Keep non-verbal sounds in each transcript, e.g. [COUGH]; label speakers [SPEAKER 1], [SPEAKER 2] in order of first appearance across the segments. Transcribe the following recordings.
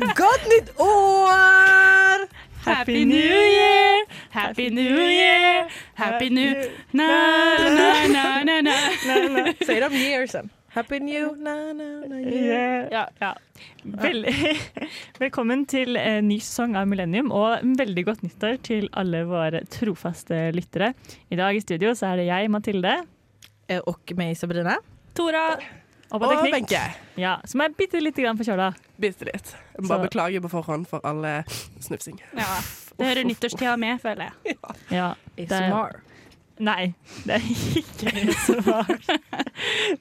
[SPEAKER 1] Godt nytt år!
[SPEAKER 2] Happy New Year, Happy New Year, Happy New Na, na, na, na, na.
[SPEAKER 1] Say it up years'en. Happy new na, na, na, year.
[SPEAKER 2] Ja, ja.
[SPEAKER 3] Vel, [LAUGHS] velkommen til en ny sesong av Millennium, og en veldig godt nyttår til alle våre trofaste lyttere. I dag i studio så er det jeg, Mathilde,
[SPEAKER 1] Eh, Og meg, Sabrina.
[SPEAKER 2] Tora.
[SPEAKER 3] og på
[SPEAKER 4] Og
[SPEAKER 3] teknikk,
[SPEAKER 4] Wenche.
[SPEAKER 3] ja, som er bitte lite grann forkjøla.
[SPEAKER 4] Bitte litt. Jeg må bare
[SPEAKER 3] Så-
[SPEAKER 4] beklager på forhånd for alle snufsing.
[SPEAKER 2] Ja, det hører nyttårstida med, føler jeg.
[SPEAKER 3] Ja, det er- Nei, det er ikke smart.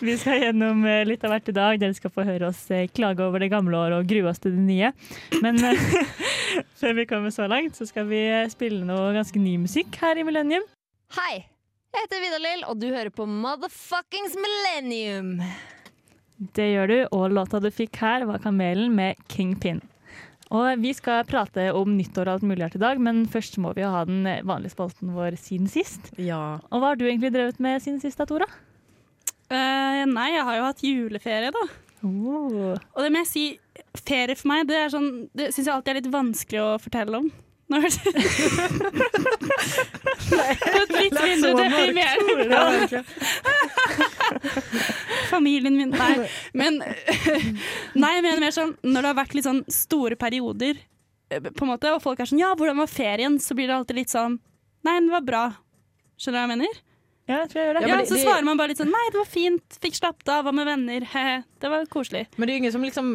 [SPEAKER 3] Vi skal gjennom eh, litt av hvert i dag. Dere skal få høre oss eh, klage over det gamle året og grue oss til det nye. Men eh, [LAUGHS] før vi kommer så langt, så skal vi eh, spille noe ganske ny musikk her i Millennium.
[SPEAKER 5] Hei, jeg heter Vidar-Lill, og du hører på Motherfuckings Millennium.
[SPEAKER 3] Det gjør du, og låta du fikk her var Kamelen med Kingpin. Og eh, vi skal prate om nyttår og alt mulig her til i dag, men først må vi jo ha den eh, vanlige spalten vår siden sist.
[SPEAKER 1] Ja.
[SPEAKER 3] Og hva har du egentlig drevet med siden sist da, Tora?
[SPEAKER 2] Eh, nei, jeg har jo hatt juleferie, da.
[SPEAKER 3] Oh.
[SPEAKER 2] Og det må jeg si, ferie for meg, det er sånn Det syns jeg alltid er litt vanskelig å fortelle om. Nå hørtes det På et litt mindre deprimerende
[SPEAKER 1] Ja,
[SPEAKER 4] Ah,
[SPEAKER 1] egentlig.
[SPEAKER 2] Familien min Nei, men [LAUGHS] Nei, jeg mener mer sånn når det har vært litt sånn store perioder, eh, på en måte, og folk er sånn Ja, hvordan var ferien? Så blir det alltid litt sånn Nei, den var bra. Skjønner du hva jeg mener?
[SPEAKER 3] Ja, jeg tror jeg gjør det.
[SPEAKER 1] Ja,
[SPEAKER 2] Ja,
[SPEAKER 1] men det-
[SPEAKER 2] Så
[SPEAKER 1] det-
[SPEAKER 2] svarer man bare litt sånn Nei, det var fint. Fikk slappet av, var med venner. [LAUGHS] He-he. Det var koselig.
[SPEAKER 1] Men det är ju ingen som liksom,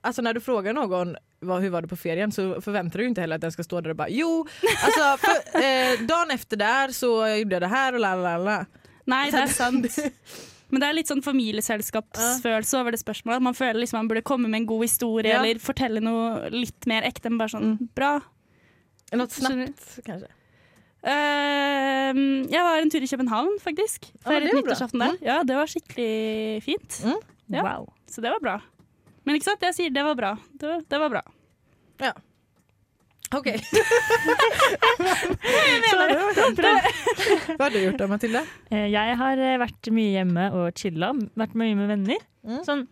[SPEAKER 1] alltså när du frågar någon vad, hur var det på ferien så förväntar du ju inte heller att den ska stå där och bara jo, alltså
[SPEAKER 4] [LAUGHS]
[SPEAKER 1] för, eh, dagen efter där så gjorde jag det här och la la la, la.
[SPEAKER 2] Nei, det er sant. Men det er litt sånn familieselskapsfølelse over det spørsmålet. Man føler liksom man burde komme med en god historie
[SPEAKER 1] Ja.
[SPEAKER 2] eller fortelle noe litt mer ekte. Men bare sånn bra.
[SPEAKER 1] [LAUGHS] Något
[SPEAKER 2] Skjønner du?
[SPEAKER 1] snabbt kanske.
[SPEAKER 2] Eh, jeg var en tur i København, faktisk.
[SPEAKER 1] Ja,
[SPEAKER 2] Feiret
[SPEAKER 1] det var bra.
[SPEAKER 2] nyttårsaften der. Ja, det var skikkelig fint.
[SPEAKER 1] Mm.
[SPEAKER 2] Ja.
[SPEAKER 3] Wow.
[SPEAKER 2] Så det var bra. Men ikke sant, jeg sier det var bra. Det var, det var bra.
[SPEAKER 1] Okej.
[SPEAKER 3] Så det var sånn, bra.
[SPEAKER 1] [LAUGHS] Vad har du gjort då Matilda?
[SPEAKER 3] Eh, Jeg har eh, vært mye hjemme og chilla. Vært mye med venner.
[SPEAKER 1] Mm.
[SPEAKER 3] Sånn,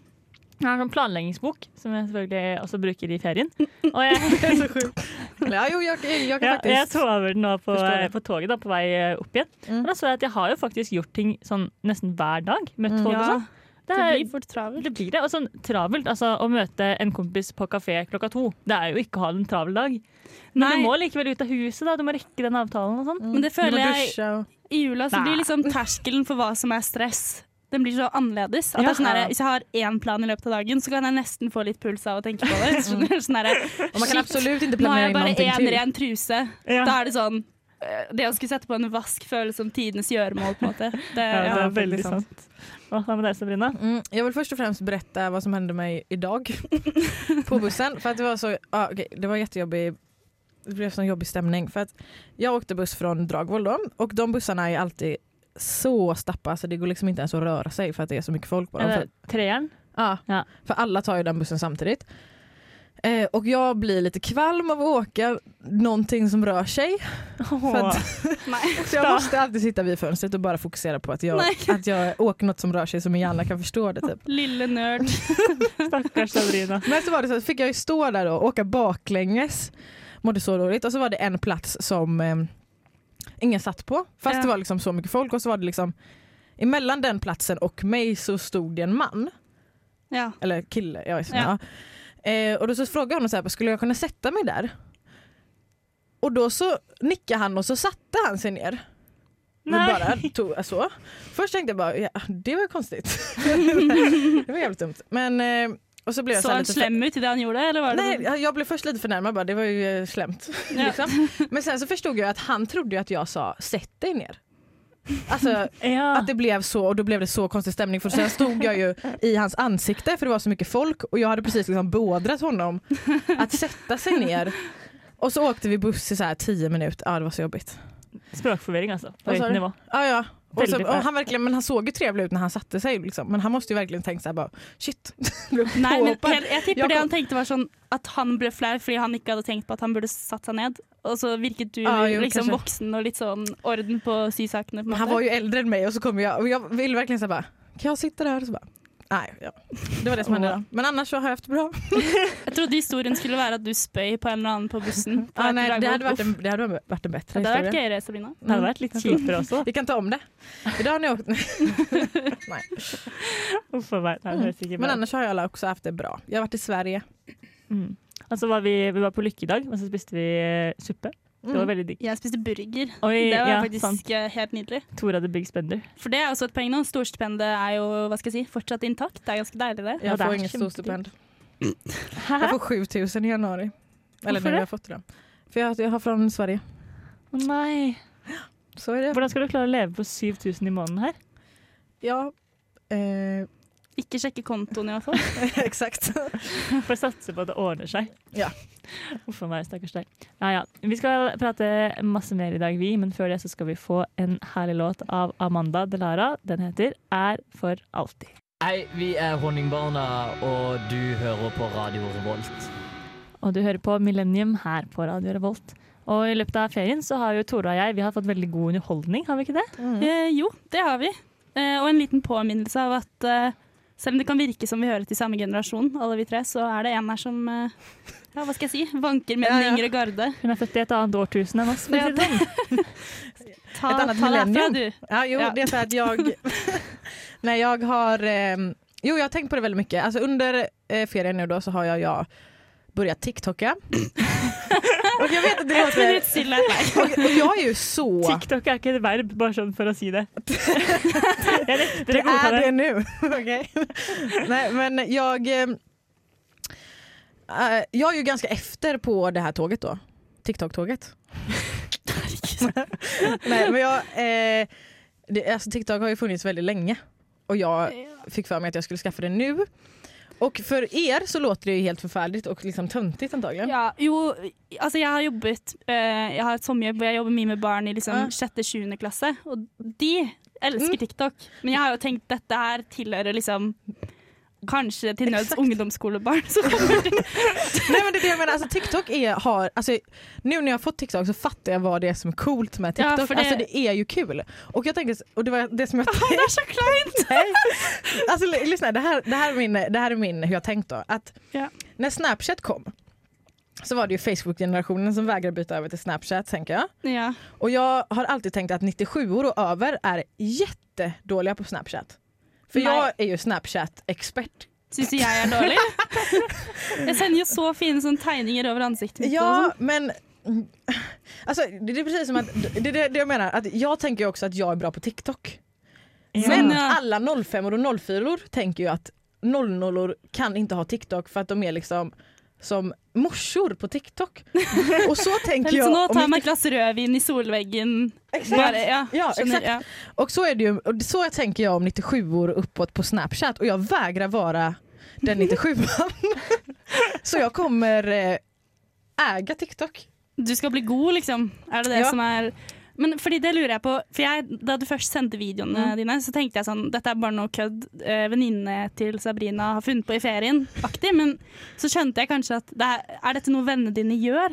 [SPEAKER 3] jeg har en sånn planleggingsbok, som jeg selvfølgelig også bruker i ferien. Og jeg,
[SPEAKER 1] Det är så sjukt. Ja, jo, jag, jag kan
[SPEAKER 3] ja, jeg
[SPEAKER 1] faktiskt.
[SPEAKER 3] tog over den nå på,
[SPEAKER 1] Forstår det.
[SPEAKER 3] eh, på toget, da, på vei eh, opp igjen.
[SPEAKER 1] Mm.
[SPEAKER 3] Og da så jeg at jeg har jo faktisk gjort ting sånn nesten hver dag. Møtt
[SPEAKER 1] Mm.
[SPEAKER 3] folk og sånn. Det,
[SPEAKER 2] det
[SPEAKER 3] er,
[SPEAKER 2] blir fort travelt.
[SPEAKER 3] det blir det. Og sånn travelt. Altså, å møte en kompis på kafé klokka to, det er jo ikke å ha en travel dag. Men
[SPEAKER 2] Nei.
[SPEAKER 3] du må likevel ut av huset, da. Du må rekke den avtalen og sånn.
[SPEAKER 2] Men
[SPEAKER 1] Mm. Du
[SPEAKER 2] det
[SPEAKER 1] må
[SPEAKER 2] føler jeg
[SPEAKER 1] duscha och...
[SPEAKER 2] i jula så
[SPEAKER 3] Nei.
[SPEAKER 2] blir liksom terskelen for hva som er stress, den blir så annerledes. At det
[SPEAKER 3] Ja.
[SPEAKER 2] er sånn her, hvis jeg har én plan i løpet av dagen, så kan jeg nesten få litt puls av å tenke på det. Skjønner du? Sånn her,
[SPEAKER 1] Och man kan
[SPEAKER 2] shit,
[SPEAKER 1] absolut inte
[SPEAKER 2] nå har
[SPEAKER 1] planera in
[SPEAKER 2] jeg bare
[SPEAKER 1] någonting
[SPEAKER 2] én
[SPEAKER 1] till.
[SPEAKER 2] ren truse.
[SPEAKER 3] Ja.
[SPEAKER 2] Da er det sånn eh, Det å skulle sette på en vask føles som tidenes gjøremål, på
[SPEAKER 3] [LAUGHS]
[SPEAKER 2] en måte. Det,
[SPEAKER 3] Ja, det
[SPEAKER 2] ja.
[SPEAKER 3] er veldig sant. Og hva med deg, Sabrina?
[SPEAKER 1] Mm, jag vill först och främst berätta vad som hände mig idag
[SPEAKER 2] [LAUGHS]
[SPEAKER 1] på bussen. För att det var så, ah, okej, det var jättejobbig, det blev sån jobbig stämning. För att jag åkte buss från Dragvoll då, och de bussarna är ju alltid så stappa så det går liksom inte ens att röra sig för att det är så mycket folk på dem. För,
[SPEAKER 3] Eller treeren?
[SPEAKER 1] ja,
[SPEAKER 3] Ja.
[SPEAKER 1] för alla tar ju den bussen samtidigt. Eh, och jag blir lite kvalm av att åka någonting som rör sig. För att
[SPEAKER 2] Nei.
[SPEAKER 1] så jag måste alltid sitta vid fönstret och bara fokusera på att jag,
[SPEAKER 2] Nej.
[SPEAKER 1] att jag åker något som rör sig så min hjärna kan förstå det. Typ.
[SPEAKER 2] Lille nerd.
[SPEAKER 3] Stakkars Sabrina.
[SPEAKER 1] Men så var det så att fick jag ju stå där då och åka baklänges. Mådde så dåligt. Och så var det en plats som eh, ingen satt på. Fast
[SPEAKER 2] Ja.
[SPEAKER 1] det var liksom så mycket folk. Och så var det liksom emellan den platsen och mig så stod det en man.
[SPEAKER 2] Ja.
[SPEAKER 1] Eller kille. Jag är så,
[SPEAKER 2] Ja.
[SPEAKER 1] ja. Eh, och då så frågade jag honom så här, skulle jag kunna sätta mig där? Och då så nickade han och så satte han sig ner. Och
[SPEAKER 3] Nej.
[SPEAKER 1] bara tog, så. Först tänkte jag bara, ja, det var konstigt. [LAUGHS] det var jävligt dumt. Men, eh, och så blev jag
[SPEAKER 2] Så
[SPEAKER 1] så här
[SPEAKER 2] han
[SPEAKER 1] lite
[SPEAKER 2] slem ut i det han gjorde, eller var det sånn?
[SPEAKER 1] Nej, jag- jag blev först lite förnärmad bara, det var ju eh, slemt.
[SPEAKER 2] Ja.
[SPEAKER 1] Liksom. Men sen så förstod jag att han trodde ju att jag sa sätt dig ner. Alltså
[SPEAKER 3] Ja.
[SPEAKER 1] att det blev så och då blev det så konstig stämning för sen stod jag ju i hans ansikte för det var så mycket folk och jag hade precis liksom beordrat honom att sätta sig ner. Och så åkte vi buss i så här tio minuter, ja det var så jobbigt.
[SPEAKER 3] Språkforvirring, alltså. På
[SPEAKER 1] Vad sa
[SPEAKER 3] høyt
[SPEAKER 1] du?
[SPEAKER 3] nivå.
[SPEAKER 1] Ja, ja. Och så,
[SPEAKER 3] Väldigt
[SPEAKER 1] och han, verkligen, men han såg ju trevlig ut när han satte sig liksom. men han måste ju verkligen tänkt såhär bara shit, blev
[SPEAKER 2] Nei, men
[SPEAKER 1] påhoppad.
[SPEAKER 2] jeg, jeg tipper
[SPEAKER 1] Jeg
[SPEAKER 2] det
[SPEAKER 1] kom-
[SPEAKER 2] han tenkte var sånn at han ble flau fordi han ikke hadde tenkt på at han burde satt seg ned. Og så virket du
[SPEAKER 1] Ja, jo,
[SPEAKER 2] liksom
[SPEAKER 1] kanskje.
[SPEAKER 2] voksen og litt sånn orden på sysakene. På en
[SPEAKER 1] Men han
[SPEAKER 2] måte.
[SPEAKER 1] var ju äldre än mig och så kom jag och jag ville verkligen säga bara kan jag sitta där? Så bara, Nej, ja. Det var det som hände då. Men annars så har jag haft bra.
[SPEAKER 2] Jeg trodde historien skulle være at du spøy på en eller annen på bussen.
[SPEAKER 1] [LAUGHS]
[SPEAKER 2] På
[SPEAKER 1] Ja,
[SPEAKER 2] et
[SPEAKER 1] nej, det,
[SPEAKER 2] dragvoll.
[SPEAKER 1] hade varit en, det hade varit en bättre
[SPEAKER 2] det hadde vært
[SPEAKER 1] historia. Mm.
[SPEAKER 2] gøyere, Sabina.
[SPEAKER 3] Det hadde vært litt kjipt for
[SPEAKER 1] [LAUGHS]
[SPEAKER 3] oss òg.
[SPEAKER 1] Vi kan ta om det. Idag har ni åkt... [LAUGHS] Nej.
[SPEAKER 3] Uff a meg. Nei, det høres ikke
[SPEAKER 1] Men
[SPEAKER 3] bra ut.
[SPEAKER 1] annars har jag alla också haft det bra. Jag har varit i Sverige.
[SPEAKER 3] Mm. Altså var vi, vi var på Lykke i dag, og så spiste vi eh, suppe. Det
[SPEAKER 1] Mm.
[SPEAKER 3] var veldig digg.
[SPEAKER 2] Jeg spiste burger.
[SPEAKER 3] Oi,
[SPEAKER 2] Det var
[SPEAKER 3] ja,
[SPEAKER 2] faktisk
[SPEAKER 3] sant.
[SPEAKER 2] eh, helt nydelig.
[SPEAKER 3] Tora the Big Spender.
[SPEAKER 2] For det er også et poeng nå. Storstipendet er jo hva skal jeg si, fortsatt intakt. Det er ganske deilig, det.
[SPEAKER 3] Ja,
[SPEAKER 1] Jag
[SPEAKER 3] det
[SPEAKER 1] får
[SPEAKER 3] är
[SPEAKER 1] inget
[SPEAKER 3] jättedyrt.
[SPEAKER 1] storstipend.
[SPEAKER 3] Hæ?
[SPEAKER 1] Jag får 7000 i januari. Eller
[SPEAKER 3] Varför
[SPEAKER 1] nu
[SPEAKER 3] det?
[SPEAKER 1] har jag fått det. då. För jag, jag har från Sverige.
[SPEAKER 3] Å nei.
[SPEAKER 1] Så är det.
[SPEAKER 3] Hvordan skal du klare å leve på 7000 i måneden her?
[SPEAKER 1] Ja, eh, [LAUGHS]
[SPEAKER 2] Ikke sjekke kontoen i hvert fall.
[SPEAKER 1] exakt.
[SPEAKER 3] For å satse på at det ordner seg.
[SPEAKER 1] Ja.
[SPEAKER 3] [LAUGHS] Uff a meg, stakkars deg. Ja, ja. Vi skal prate masse mer i dag, vi, men før det så skal vi få en herlig låt av Amanda Delara. Den heter 'Er for alltid'.
[SPEAKER 6] Hei, vi er Honningbarna, og du hører på Radio Revolt.
[SPEAKER 3] Og du hører på Millennium her på Radio Revolt. Og i løpet av ferien så har jo Tora og jeg vi har fått veldig god underholdning, har vi ikke det?
[SPEAKER 1] Mhm.
[SPEAKER 2] Eh, jo, det har vi. Eh, og en liten påminnelse av at eh, selv om det kan virke som vi hører til samme generasjon, alle vi tre, så er det en her som eh, ja, hva skal jeg si, vanker med
[SPEAKER 1] Ja, ja.
[SPEAKER 2] den yngre garde.
[SPEAKER 3] Hun er født i et annet årtusen enn oss. for å si det sånn.
[SPEAKER 2] Ta,
[SPEAKER 1] Et
[SPEAKER 2] ta
[SPEAKER 1] annet
[SPEAKER 2] derfra,
[SPEAKER 1] millennium.
[SPEAKER 2] du.
[SPEAKER 1] Ja, jo,
[SPEAKER 2] Ja.
[SPEAKER 1] det är för att
[SPEAKER 2] [LAUGHS]
[SPEAKER 1] jag... när jag har... ehm, jo, jag har tänkt på det väldigt mycket. Alltså under eh, ferien nu då så har jag, jag börjat
[SPEAKER 2] [LAUGHS]
[SPEAKER 1] TikToka. och jag vet att det
[SPEAKER 2] Ett
[SPEAKER 1] låter...
[SPEAKER 2] minutt stille.
[SPEAKER 1] Och, och jag är ju så...
[SPEAKER 3] TikTok er ikke et verb, bare sånn for å si det. Jeg nekter å
[SPEAKER 1] Det är
[SPEAKER 3] godta det.
[SPEAKER 1] det nu. [LAUGHS] Okej. Nej, men jag... eh, eh, jag är ju ganska efter på det här tåget då. [LAUGHS] TikTok-tåget. Nej, men jag... Eh, det, alltså TikTok har ju funnits väldigt länge. Och jag fick för mig att jag skulle skaffa det nu. Och för er så låter det ju helt förfärligt och liksom töntigt antagligen.
[SPEAKER 2] Ja, jo, altså jeg har jobbet eh, Jeg har et sommerjobb hvor jeg jobber mye med barn i
[SPEAKER 1] Ja.
[SPEAKER 2] liksom sjette, sjuende klasse, og de
[SPEAKER 1] Mm.
[SPEAKER 2] elsker TikTok. Men jeg har jo tenkt dette her tilhører liksom Kanskje til nøds
[SPEAKER 1] Exakt.
[SPEAKER 2] ungdomsskolebarn som kommer
[SPEAKER 1] [LAUGHS]
[SPEAKER 2] til
[SPEAKER 1] Nej men det är det jag menar, alltså TikTok är, har, alltså, nu när jag har fått TikTok så fattar jag vad det är som är coolt med
[SPEAKER 2] Ja,
[SPEAKER 1] TikTok.
[SPEAKER 2] för det-
[SPEAKER 1] Alltså det är ju kul. Och jag tänker, och det var det
[SPEAKER 2] [LAUGHS]
[SPEAKER 1] som jag
[SPEAKER 2] Det er så kleint!
[SPEAKER 1] Nej. Alltså l- lyssna, det här, det, här är min, det här är min hur jag tänkt då. Att
[SPEAKER 2] Ja.
[SPEAKER 1] När Snapchat kom så var det ju Facebook-generationen som vägrade byta över till Snapchat tänker jag.
[SPEAKER 2] Ja.
[SPEAKER 1] Och jag har alltid tänkt att 97-or och över är jättedåliga på Snapchat. För
[SPEAKER 2] Nej.
[SPEAKER 1] jag är ju Snapchat-expert.
[SPEAKER 2] Syns du jeg er dårlig? Jeg sender jo så fine sånne tegninger over ansiktet mitt. og
[SPEAKER 1] Ja,
[SPEAKER 2] sånn.
[SPEAKER 1] men mm, alltså, det det är precis som att, det är det, det jag menar, att jag tänker ju också att jag är bra på TikTok. Men
[SPEAKER 2] Sånn, ja.
[SPEAKER 1] alla 05 och 04 tänker ju att 00 kan inte ha TikTok för att de är liksom som morsor på
[SPEAKER 2] [LAUGHS]
[SPEAKER 1] TikTok. Och så
[SPEAKER 2] Det
[SPEAKER 1] tänker
[SPEAKER 2] er litt sånn,
[SPEAKER 1] jag.
[SPEAKER 2] nå
[SPEAKER 1] om
[SPEAKER 2] tar jeg
[SPEAKER 1] mitt-
[SPEAKER 2] meg et glass rødvin i solveggen.
[SPEAKER 1] Exakt.
[SPEAKER 2] Bare, ja,
[SPEAKER 1] Ja,
[SPEAKER 2] skjønner,
[SPEAKER 1] exakt. Och så, är det ju, och så jag tänker jag om 97 år uppåt på Snapchat och jag vägrar vara den 97
[SPEAKER 2] [LAUGHS]
[SPEAKER 1] Så jag kommer eh, äga TikTok.
[SPEAKER 2] Ja. Du skal bli god, liksom. Er det det
[SPEAKER 1] Ja.
[SPEAKER 2] som er men fordi det lurer jeg på, for jeg, Da du først sendte videoene dine, så tenkte jeg sånn Dette er bare noe kødd eh, venninnene til Sabrina har funnet på i ferien. Aktig, men så skjønte jeg kanskje at det er, er dette noe vennene dine gjør?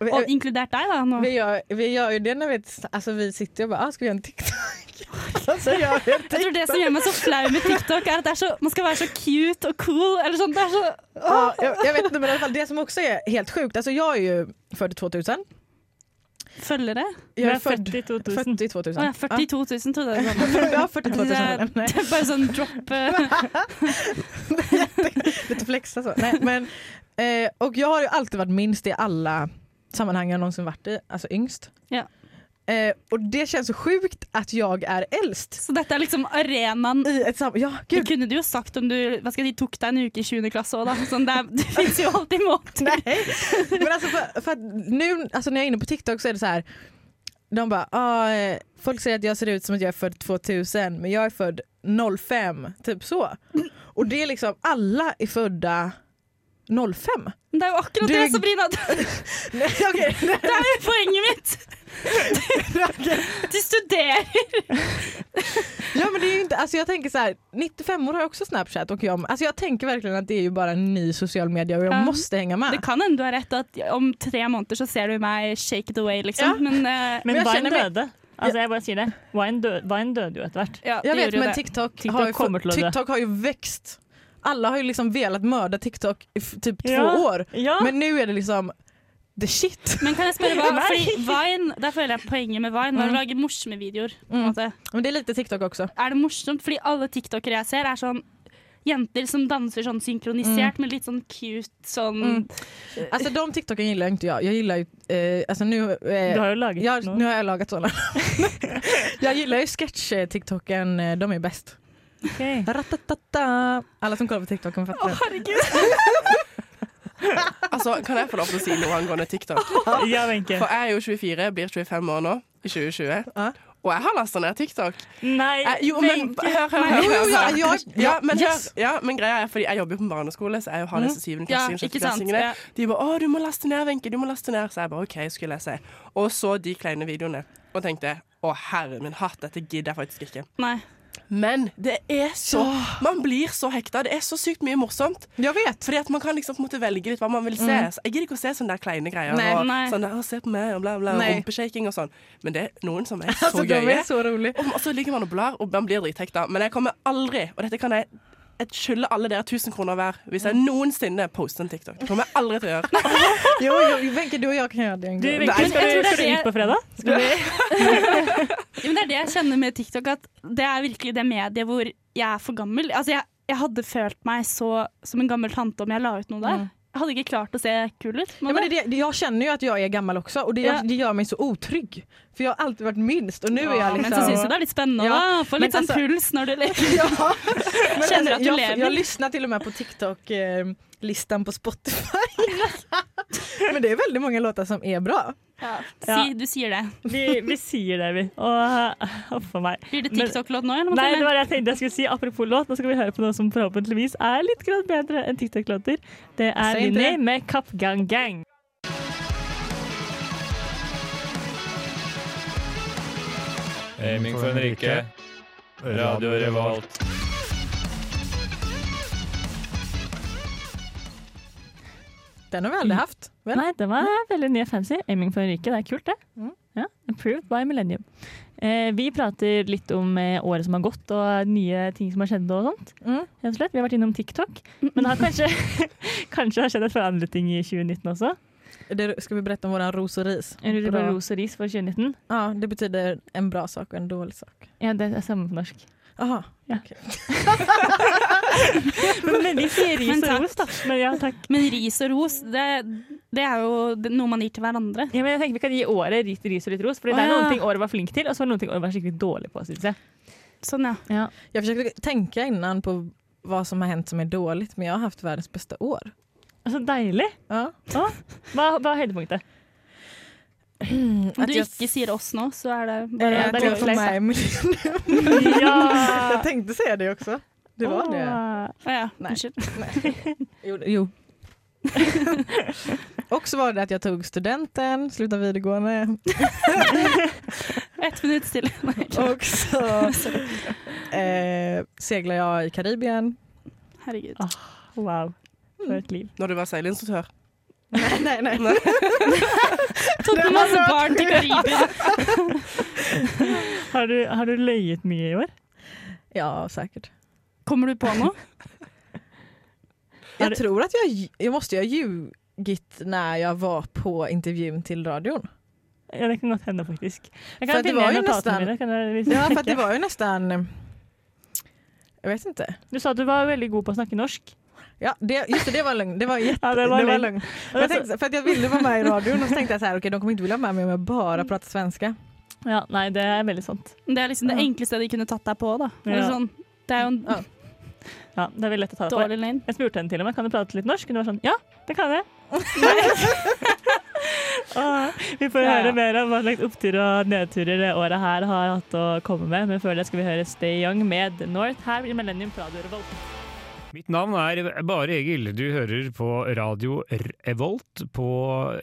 [SPEAKER 2] Og inkludert deg, da. Nå.
[SPEAKER 1] Vi gör, vi gör ju det när vi, alltså, vi sitter och bara, ah, ska vi göra en TikTok? Alltså, gör vi en
[SPEAKER 2] Jeg tror det som gjør meg så flau med TikTok, er at det er så, man skal være så cute og cool. Eller sånn, det er så
[SPEAKER 1] Ja, jag, [LAUGHS] jag vet inte men i alla fall det som också är helt sjukt, alltså jag är ju född 2000.
[SPEAKER 2] Følgere?
[SPEAKER 1] Jag
[SPEAKER 3] Hun er født i 2000.
[SPEAKER 1] 40 2000.
[SPEAKER 2] Å ja, 42 000 trodde [LAUGHS] jeg det var.
[SPEAKER 1] Ja, ja 42 000.
[SPEAKER 2] Det er,
[SPEAKER 1] [LAUGHS] Nej,
[SPEAKER 2] det er bare sånn drop eh,
[SPEAKER 1] lite flexa så. Nej, men, eh, och jag har ju alltid varit minst i alla sammanhang jag någonsin varit i, alltså yngst.
[SPEAKER 2] Ja.
[SPEAKER 1] Eh, och det känns så sjukt att jeg är äldst.
[SPEAKER 2] Så dette er liksom arenaen.
[SPEAKER 1] I ett sam- ja,
[SPEAKER 2] Det
[SPEAKER 1] gud.
[SPEAKER 2] kunne du jo sagt om du hva skal jeg si, tok deg en uke i 7. klasse òg, da. Sånn, det, er, det fins jo alltid måter.
[SPEAKER 1] Nej. Men alltså för, för att nu alltså när jag är inne på TikTok så är det så här. De bara, ah, eh, folk säger att jag ser ut som att jeg är född 2000 men jag är född 05, typ så. Och det är liksom, alla är födda 05.
[SPEAKER 2] Men det er jo akkurat
[SPEAKER 1] Du-
[SPEAKER 2] det, Sabrina.
[SPEAKER 1] Nej, [LAUGHS] okej.
[SPEAKER 2] Det er jo poenget mitt! Du studerer.
[SPEAKER 1] [LAUGHS] Ja men det är ju inte, alltså jag tänker så här, 95 år har också snapchat och jag, alltså jag tänker verkligen att det är ju bara en ny social media och jag
[SPEAKER 2] Ja.
[SPEAKER 1] måste hänga med.
[SPEAKER 2] Det kan hende du har rett, at om tre måneder så ser du meg shake it away, liksom.
[SPEAKER 1] Ja.
[SPEAKER 2] Men, eh,
[SPEAKER 3] Men
[SPEAKER 1] Men jeg
[SPEAKER 3] hva er
[SPEAKER 1] kjenner meg-
[SPEAKER 3] nøde? Altså, jeg bare sier det. Vine døde, Vine døde jo etter hvert.
[SPEAKER 2] Ja,
[SPEAKER 1] Jag
[SPEAKER 2] det
[SPEAKER 1] vet
[SPEAKER 2] gjorde
[SPEAKER 1] men
[SPEAKER 2] jo det.
[SPEAKER 1] TikTok,
[SPEAKER 3] TikTok
[SPEAKER 1] har, ju
[SPEAKER 3] kommer till
[SPEAKER 1] fått,
[SPEAKER 3] att dö.
[SPEAKER 1] TikTok har ju växt. Alla har ju liksom velat mörda TikTok i f- typ två
[SPEAKER 3] Ja.
[SPEAKER 1] år.
[SPEAKER 3] Ja,
[SPEAKER 1] Men nu är det liksom the shit.
[SPEAKER 2] Men kan jeg spørre hva
[SPEAKER 3] Nei.
[SPEAKER 2] Fordi Vine, Der føler jeg poenget med Vine var
[SPEAKER 1] Mm.
[SPEAKER 2] å lage morsomme videoer. På en
[SPEAKER 1] Mm.
[SPEAKER 2] måte.
[SPEAKER 1] Men det är lite TikTok också.
[SPEAKER 2] Er det morsomt? Fordi alle tiktokere jeg ser, er sånn jenter som danser sånn synkronisert, men litt sånn cute sånn
[SPEAKER 1] Mm. Alltså de TikToken gillar ju inte jag. Jag gillar ju, eh, alltså nu,
[SPEAKER 3] du
[SPEAKER 1] eh,
[SPEAKER 3] har jo laget
[SPEAKER 1] jag, nu
[SPEAKER 3] noe.
[SPEAKER 1] har jag lagat sådana. jag gillar ju sketch-TikToken, eh, de är bäst.
[SPEAKER 3] Ok.
[SPEAKER 1] Ratatata. Alla som kollar på TikToken fattar.
[SPEAKER 4] Altså, Kan jeg få lov til å si noe angående TikTok?
[SPEAKER 3] Ja, Wenche.
[SPEAKER 4] For jeg er jo 24, blir 25 år nå i 2020.
[SPEAKER 1] Ja.
[SPEAKER 4] Og jeg har lasta ned TikTok.
[SPEAKER 3] Nei,
[SPEAKER 4] Jeg, Eh, jo, men
[SPEAKER 3] Wenche.
[SPEAKER 4] hør, hør,
[SPEAKER 1] Jo, jo,
[SPEAKER 4] hør. hør,
[SPEAKER 1] ja,
[SPEAKER 4] hør.
[SPEAKER 1] ja,
[SPEAKER 4] Ja, men, hør,
[SPEAKER 1] yes.
[SPEAKER 4] ja, men greia er fordi jeg jobber jo på barneskole, så jeg er jo har disse syvendeklassingene,
[SPEAKER 2] Ja, ikke sant,
[SPEAKER 4] sjetteklassingene.
[SPEAKER 2] ja.
[SPEAKER 4] De bare 'Å, du må laste ned, Wenche. Du må laste ned.' Så jeg bare 'OK, skulle jeg se'. Og så de kleine videoene. Og tenkte 'Å, herre min hatt, dette gidder jeg faktisk ikke'.
[SPEAKER 2] Nei.
[SPEAKER 4] Men det er så Man blir så hekta. Det er så sykt mye morsomt.
[SPEAKER 1] Jag vet.
[SPEAKER 4] Fordi at man kan liksom på en måte velge litt hva man vil se. Så jeg gidder ikke å se sånne der kleine greier.
[SPEAKER 1] Nei,
[SPEAKER 4] og
[SPEAKER 2] nei.
[SPEAKER 4] Sånn der, «Å, se på meg, og bla, bla, og
[SPEAKER 1] Nei.
[SPEAKER 4] rumpeshaking og sånn. Men det er noen som er så
[SPEAKER 1] Alltså de
[SPEAKER 4] gøye.
[SPEAKER 1] är så roliga.
[SPEAKER 4] Og så ligger man og blar, og man blir drithekta. Men jeg kommer aldri, og dette kan jeg jeg skylder alle dere 1000 kroner hver hvis jeg noensinne poster en TikTok. Det kommer jeg aldri til å gjøre.
[SPEAKER 1] Jo, jo, Wenche du och jag kan göra det en
[SPEAKER 3] Du,
[SPEAKER 1] gång.
[SPEAKER 3] Wenche,
[SPEAKER 2] men
[SPEAKER 3] skal,
[SPEAKER 2] jeg
[SPEAKER 3] du-
[SPEAKER 2] tror det
[SPEAKER 3] skal du
[SPEAKER 2] er-
[SPEAKER 3] ut på fredag?
[SPEAKER 2] Jo, men det er det jeg kjenner med TikTok, at det er virkelig det mediet hvor jeg er for gammel. Altså, jeg, jeg hadde følt meg så som en gammel tante om jeg la ut noe der. Jeg hadde ikke klart å se kul ut.
[SPEAKER 1] Ja, men det, är det, jag känner ju att jag är gammal också och det,
[SPEAKER 2] Ja.
[SPEAKER 1] det gör mig så otrygg. För jag har alltid varit minst och nu är jag liksom...
[SPEAKER 2] Men så syns jeg det er litt spennende
[SPEAKER 1] Ja,
[SPEAKER 2] å få litt
[SPEAKER 1] men
[SPEAKER 2] sånn
[SPEAKER 1] altså-
[SPEAKER 2] puls når du liksom
[SPEAKER 1] [LAUGHS]
[SPEAKER 2] leker.
[SPEAKER 1] ja. Men altså,
[SPEAKER 2] Känner att du
[SPEAKER 1] jag,
[SPEAKER 2] lever.
[SPEAKER 1] jag lyssnar till och med på TikTok-listan på Spotify. [LAUGHS] Men det är väldigt många låtar som är bra.
[SPEAKER 2] Si, du sier det.
[SPEAKER 3] Vi, vi sier det, vi. Åh, huff a meg.
[SPEAKER 2] Blir det
[SPEAKER 3] Men-
[SPEAKER 2] TikTok-låt nå, eller? må
[SPEAKER 3] Nei,
[SPEAKER 2] jeg
[SPEAKER 3] det var det jeg tenkte jeg skulle si. Apropos låt, nå skal vi høre på noe som forhåpentligvis er litt grann bedre enn TikTok-låter. Det er
[SPEAKER 1] Si ikke
[SPEAKER 3] Vinni
[SPEAKER 1] det.
[SPEAKER 3] med Kapp Gang Gang.
[SPEAKER 7] Aiming for en rike. Radio Revolt.
[SPEAKER 1] Den har vi aldrig haft. Väl?
[SPEAKER 3] Nei, den var veldig ny og fancy. Aiming for en rike, det er kult, det.
[SPEAKER 1] Mm.
[SPEAKER 3] Ja, approved by Millennium. Eh, vi prater litt om eh, året som har gått, og nye ting som har skjedd og sånt.
[SPEAKER 1] Mm.
[SPEAKER 3] Rett og slett. Vi har vært innom TikTok, men det har kanskje, [LAUGHS] kanskje har skjedd et par andre ting i 2019 også.
[SPEAKER 1] Det, ska vi berätta om våran ros och ris?
[SPEAKER 3] En rulle
[SPEAKER 1] Bra.
[SPEAKER 3] med ros og ris for 2019.
[SPEAKER 1] Ja, det betyder en bra sak och en dålig sak.
[SPEAKER 3] Ja, det er samme på norsk.
[SPEAKER 1] Aha.
[SPEAKER 3] Men, men vi
[SPEAKER 2] [LAUGHS]
[SPEAKER 3] sier ris
[SPEAKER 2] Men
[SPEAKER 3] og
[SPEAKER 2] takk.
[SPEAKER 3] ros, da. Men ja, takk.
[SPEAKER 2] Men ris og ros, det, det er jo det- noe man gir til hverandre.
[SPEAKER 3] Ja, men jeg tenker Vi kan gi året ris, ris og litt ros, Fordi
[SPEAKER 2] Å,
[SPEAKER 3] det er noen
[SPEAKER 2] ja.
[SPEAKER 3] ting året var flink til, og så var det noen ting året var skikkelig dårlig på. Synes jeg.
[SPEAKER 2] Sånn, ja.
[SPEAKER 1] Jag försökte tänka innan på vad som har hänt som är dåligt men jag har haft världens bästa år.
[SPEAKER 3] Så Altså, deilig!
[SPEAKER 1] Ja.
[SPEAKER 3] Hva, hva er høydepunktet?
[SPEAKER 2] Om du
[SPEAKER 1] jag-
[SPEAKER 2] ikke sier oss nå, så er det Ah.
[SPEAKER 1] Eh,
[SPEAKER 2] bare
[SPEAKER 3] Ja,
[SPEAKER 1] att
[SPEAKER 3] det är
[SPEAKER 1] jag
[SPEAKER 3] lite
[SPEAKER 1] tog
[SPEAKER 3] flex.
[SPEAKER 1] med Millennium.
[SPEAKER 3] [LAUGHS] Ja!
[SPEAKER 1] [LAUGHS] Jag tänkte säga det också. Det var det.
[SPEAKER 2] Å ja,
[SPEAKER 1] Nei.
[SPEAKER 2] unnskyld.
[SPEAKER 1] Jo. [LAUGHS] Och så var det att jag tog studenten, slutade videregående [LAUGHS]
[SPEAKER 2] Ett minutt stille. Nei,
[SPEAKER 1] och så eh, seglade jag i Karibien.
[SPEAKER 2] Herregud.
[SPEAKER 3] Wow. For et liv.
[SPEAKER 4] Når du var seilinstruktør.
[SPEAKER 1] Nej, nej, nej.
[SPEAKER 2] Tok med masse barn til Karibia.
[SPEAKER 3] Har du, har du løyet mye i år?
[SPEAKER 1] [LAUGHS] Ja, säkert.
[SPEAKER 2] Kommer du på noe?
[SPEAKER 3] Har du-
[SPEAKER 1] Jag tror att jag, jag måste ju ha ljugit när jag var på intervjun till radion.
[SPEAKER 3] Ja, Det kan godt hende, faktisk. Jeg
[SPEAKER 1] For
[SPEAKER 3] kan
[SPEAKER 1] det
[SPEAKER 3] finne
[SPEAKER 1] var
[SPEAKER 3] igjen
[SPEAKER 1] jo
[SPEAKER 3] notatene
[SPEAKER 1] nesten-
[SPEAKER 3] mine. Kan jeg, hvis
[SPEAKER 1] [LAUGHS] Ja,
[SPEAKER 3] jeg
[SPEAKER 1] för att det
[SPEAKER 3] sjekker.
[SPEAKER 1] var ju nästan... eh, Jag vet inte.
[SPEAKER 3] Du sa at du var veldig god på å snakke norsk.
[SPEAKER 1] Ja, det, just det, det var en løgn. Det var, jätte,
[SPEAKER 3] Ja, det
[SPEAKER 1] det
[SPEAKER 3] var
[SPEAKER 1] var,
[SPEAKER 3] en
[SPEAKER 1] en
[SPEAKER 3] lögn.
[SPEAKER 1] lögn.
[SPEAKER 3] Og
[SPEAKER 1] Jag
[SPEAKER 3] det er
[SPEAKER 1] tänkte, för att jag ville vara med i radion och så tänkte jag så här, okej de kommer inte vilja ha med mig om jag bara pratar svenska.
[SPEAKER 3] så- ja, nei, det er veldig sant.
[SPEAKER 2] Det er liksom det
[SPEAKER 1] Ja.
[SPEAKER 2] enkleste de kunne tatt deg på, da. Eller
[SPEAKER 3] Ja.
[SPEAKER 2] sånn. Det er jo en
[SPEAKER 1] Ja.
[SPEAKER 3] Ja, det er veldig lett å ta det på.
[SPEAKER 2] dårlig løgn.
[SPEAKER 3] Jeg spurte henne til og med Kan du prate litt norsk. Hun var sånn Ja, det kan [LAUGHS] jeg. Åh, vi får
[SPEAKER 1] Ja, ja.
[SPEAKER 3] høre mer om hva slags opptur og nedturer det året her har hatt å komme med. Men før det skal vi høre Stay Young med The North her i Millennium Radio Revolt.
[SPEAKER 7] Mitt navn er Bare Egil. Du hører på Radio Revolt på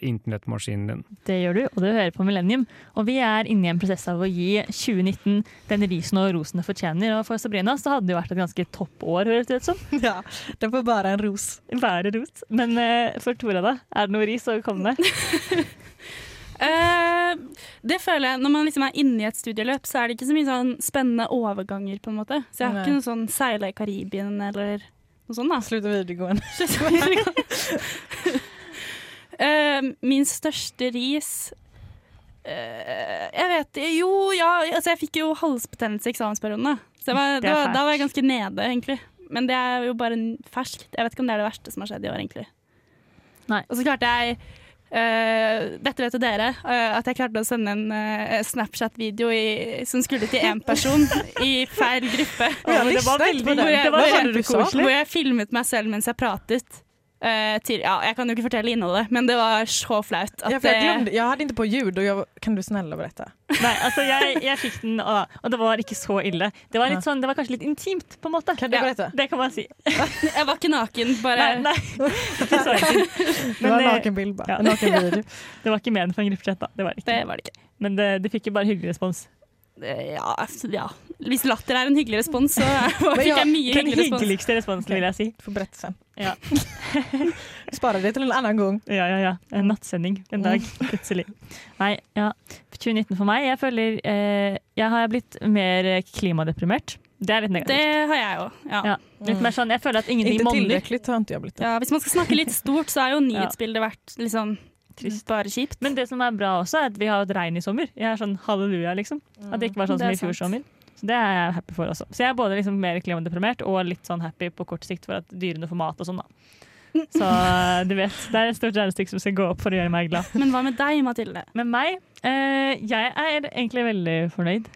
[SPEAKER 7] internettmaskinen din.
[SPEAKER 3] Det gjør du, og du hører på Millennium. Og vi er inne i en prosess av å gi 2019 den risen og rosen det fortjener. Og for Sabrina så hadde det jo vært et ganske topp år, høres det ut som.
[SPEAKER 1] [LAUGHS] Ja, den får bara en ros.
[SPEAKER 3] Bare ros. Men eh, for Tora, da? Er det noe ris å komme med?
[SPEAKER 2] Eh, det føler jeg, Når man liksom er inne i et studieløp, så er det ikke så mye sånn spennende overganger. på en måte. Så jeg har
[SPEAKER 1] Nei.
[SPEAKER 2] ikke noe sånn seile i Karibien eller noe sånt. da.
[SPEAKER 1] Slutt videregående.
[SPEAKER 2] [LAUGHS] Eh, min største ris eh, Jeg vet Jo, ja, altså jeg fikk jo halsbetennelse i eksamensperioden. Da. Så jeg var,
[SPEAKER 3] Det er
[SPEAKER 2] da, da
[SPEAKER 3] fælt.
[SPEAKER 2] var jeg ganske nede, egentlig. Men det er jo bare en ferskt. Jeg vet ikke om det er det verste som har skjedd i år, egentlig.
[SPEAKER 3] Nei.
[SPEAKER 2] Og så klarte jeg eh, dette vet jo dere, eh, at jeg klarte å sende en eh, Snapchat-video i- som skulle til én person i feil gruppe.
[SPEAKER 3] men det var veldig,
[SPEAKER 2] på det.
[SPEAKER 3] det var
[SPEAKER 2] Det var det
[SPEAKER 1] du sa.
[SPEAKER 3] kjempekoselig.
[SPEAKER 2] Hvor jeg filmet meg selv mens jeg pratet. eh, til, ja, jeg kan jo ikke fortelle innholdet, men det var så flaut. At
[SPEAKER 1] Ja, för jag,
[SPEAKER 2] det-
[SPEAKER 1] glömde, jag hade inte på ljud och jag, kan du snälla berätta?
[SPEAKER 3] Nei, altså jeg, jeg fikk den, og, og det var ikke så ille. Det var, litt sånn, det var kanskje litt intimt, på en måte.
[SPEAKER 1] Kan du berätta?
[SPEAKER 3] Det kan man si.
[SPEAKER 2] Jeg var ikke naken,
[SPEAKER 3] Nei,
[SPEAKER 2] bare
[SPEAKER 3] nei. [LAUGHS] Ikke så intimt.
[SPEAKER 1] Det var en
[SPEAKER 3] Men det,
[SPEAKER 1] nakenbild bara.
[SPEAKER 3] ja.
[SPEAKER 1] En nakenvideo.
[SPEAKER 3] det var ikke ment for en gruppechat, da. Det var det ikke.
[SPEAKER 2] Det var det ikke.
[SPEAKER 3] Men det, det fikk jo bare hyggelig respons.
[SPEAKER 2] Eh, Ja, altså, ja. Hvis latter er en hyggelig respons, så [LAUGHS] fikk
[SPEAKER 1] ja,
[SPEAKER 2] jeg mye
[SPEAKER 3] Den
[SPEAKER 2] hyggelig respons.
[SPEAKER 3] hyggeligste responsen, vil jeg si.
[SPEAKER 1] Du får berätta sen.
[SPEAKER 3] Ja.
[SPEAKER 1] [LAUGHS] Spara det till en annan gång.
[SPEAKER 3] Ja, ja, ja. En nattsending en dag,
[SPEAKER 2] [LAUGHS]
[SPEAKER 3] plutselig. Nei, ja. 2019 for meg, jeg føler eh, Jeg har blitt mer klimadeprimert. Det er litt
[SPEAKER 2] Det
[SPEAKER 3] negativt.
[SPEAKER 2] har jeg òg. Ja.
[SPEAKER 3] Ja.
[SPEAKER 1] Mm.
[SPEAKER 3] Litt mer sånn, jeg føler at ingenting
[SPEAKER 1] Inte
[SPEAKER 3] monner.
[SPEAKER 1] tillräckligt har inte jag blivit.
[SPEAKER 2] Ja, hvis man skal snakke litt stort, så
[SPEAKER 3] [LAUGHS]
[SPEAKER 2] er jo nyhetsbildet vært liksom bare kjipt.
[SPEAKER 3] Men det som er bra også, er at vi har hatt regn i sommer. Jeg er sånn halleluja, liksom.
[SPEAKER 1] Mm.
[SPEAKER 3] At det ikke var sånn
[SPEAKER 2] Mm. Det
[SPEAKER 3] som
[SPEAKER 2] er
[SPEAKER 3] i fjor
[SPEAKER 2] sant.
[SPEAKER 3] sommer. Så det er jeg happy for også. Så jeg er både liksom mer klimadeprimert og litt sånn happy på kort sikt for at dyrene får mat og sånn,
[SPEAKER 2] [LAUGHS]
[SPEAKER 3] da. Så du vet, det er et stort regnestykke som skal gå opp for å gjøre meg glad.
[SPEAKER 2] Men hva med deg, Mathilde?
[SPEAKER 3] Men meg, eh, jeg er egentlig veldig fornøyd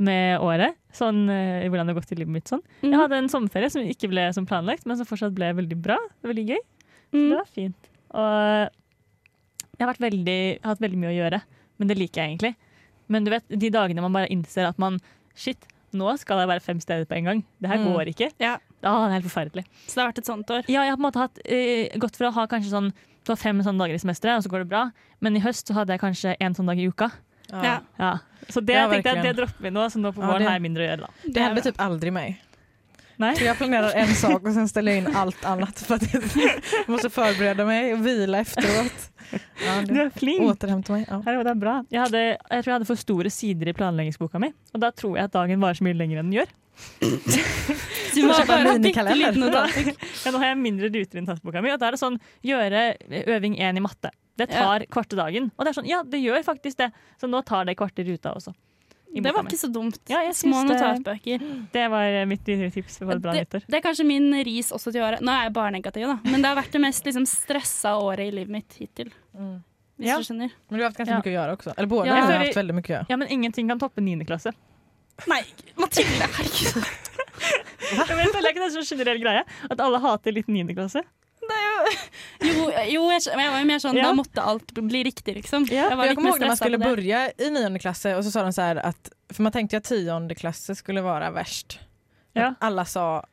[SPEAKER 3] med året. Sånn eh, hvordan det har gått i livet mitt sånn. Jeg
[SPEAKER 2] Mm.
[SPEAKER 3] hadde en sommerferie som ikke ble som planlagt, men som fortsatt ble veldig bra. Veldig gøy. Så
[SPEAKER 2] Mm.
[SPEAKER 3] det var fint. Og jeg har vært veldig, hatt veldig mye å gjøre, men det liker jeg egentlig. Men du vet, de dagene man bare innser at man Shit, nå skal jeg være fem steder på en gang. Det her
[SPEAKER 1] Mm.
[SPEAKER 3] går ikke.
[SPEAKER 2] Ja,
[SPEAKER 3] Ah, det er helt forferdelig.
[SPEAKER 2] så det har vært et
[SPEAKER 3] [LAUGHS]
[SPEAKER 2] sånt år.
[SPEAKER 3] Ja, jeg har på en måte hatt, eh, gått for å ha kanskje sånn Du har fem sånne dager i semesteret, og så går det bra. Men i høst så hadde jeg kanskje én sånn dag i uka.
[SPEAKER 1] Ja.
[SPEAKER 2] Ja.
[SPEAKER 3] Ja. Så det
[SPEAKER 1] Ja,
[SPEAKER 3] tenkte jeg,
[SPEAKER 1] virkelig.
[SPEAKER 3] det dropper vi nå, så nå på
[SPEAKER 1] Ja,
[SPEAKER 3] våren
[SPEAKER 1] det-
[SPEAKER 3] har jeg mindre å gjøre. da.
[SPEAKER 1] Det händer typ aldrig mig.
[SPEAKER 3] Nej.
[SPEAKER 1] Så jag planerar en sak och sen ställer jag in allt annat för att jag [LAUGHS] måste förbereda mig och vila efteråt. Ja,
[SPEAKER 3] Du
[SPEAKER 1] det,
[SPEAKER 3] er flink!
[SPEAKER 1] återhämta mig. Ja.
[SPEAKER 3] Herre, det er bra. Jeg, hadde, jeg tror jeg hadde for store sider i planleggingsboka mi, og da tror jeg at dagen varer så mye lenger enn den gjør.
[SPEAKER 2] Så vi må
[SPEAKER 1] Kanskje bare
[SPEAKER 2] bare ha bitte
[SPEAKER 1] minikalender.
[SPEAKER 3] [LAUGHS]
[SPEAKER 2] liten notat.
[SPEAKER 3] Ja, nå har jeg mindre ruter i notatboka mi, og da er det sånn gjøre øving én i matte. Det tar kvarte dagen. Og det er sånn, ja, det gjør faktisk det, så nå tar det kvarte ruta også. i
[SPEAKER 2] Det
[SPEAKER 3] boka
[SPEAKER 2] var
[SPEAKER 3] mi.
[SPEAKER 2] ikke så dumt.
[SPEAKER 3] ja, jeg
[SPEAKER 2] Små
[SPEAKER 3] synes det,
[SPEAKER 2] notatbøker.
[SPEAKER 3] det var eh, mitt videre tips for et bra
[SPEAKER 2] Det,
[SPEAKER 3] nyttår.
[SPEAKER 2] det er kanskje min ris også til året. Nå er jeg bare negativ, da. Men det har vært det mest liksom, stressa året i livet mitt hittil.
[SPEAKER 1] Mm.
[SPEAKER 2] Hvis
[SPEAKER 3] Ja.
[SPEAKER 2] du skjønner.
[SPEAKER 1] Men du har haft ganska
[SPEAKER 3] Ja.
[SPEAKER 1] mycket att göra också. Eller båda
[SPEAKER 3] Ja.
[SPEAKER 1] har
[SPEAKER 3] Jag tror
[SPEAKER 1] haft
[SPEAKER 3] vi-
[SPEAKER 1] väldigt mycket att göra.
[SPEAKER 3] Ja, men ingenting kan toppe niende klasse.
[SPEAKER 2] Nei, Mathilde, herregud.
[SPEAKER 3] [LAUGHS] Jeg vet, jeg det er en sånn generell greie at alle hater litt niende klasse.
[SPEAKER 2] Jo, jo jeg, skjø- men jeg var jo mer sånn
[SPEAKER 3] Ja.
[SPEAKER 2] da måtte alt bli riktig, liksom.
[SPEAKER 3] Ja,
[SPEAKER 2] Jeg
[SPEAKER 1] Jag,
[SPEAKER 2] var litt
[SPEAKER 1] kommer
[SPEAKER 2] mer
[SPEAKER 1] ihåg när man
[SPEAKER 2] stressa
[SPEAKER 1] skulle
[SPEAKER 2] på det.
[SPEAKER 1] börja i nionde klass och så sa de så här att, för man tänkte ju att tionde klass skulle vara värst.
[SPEAKER 3] Ja.
[SPEAKER 1] Att Alla sa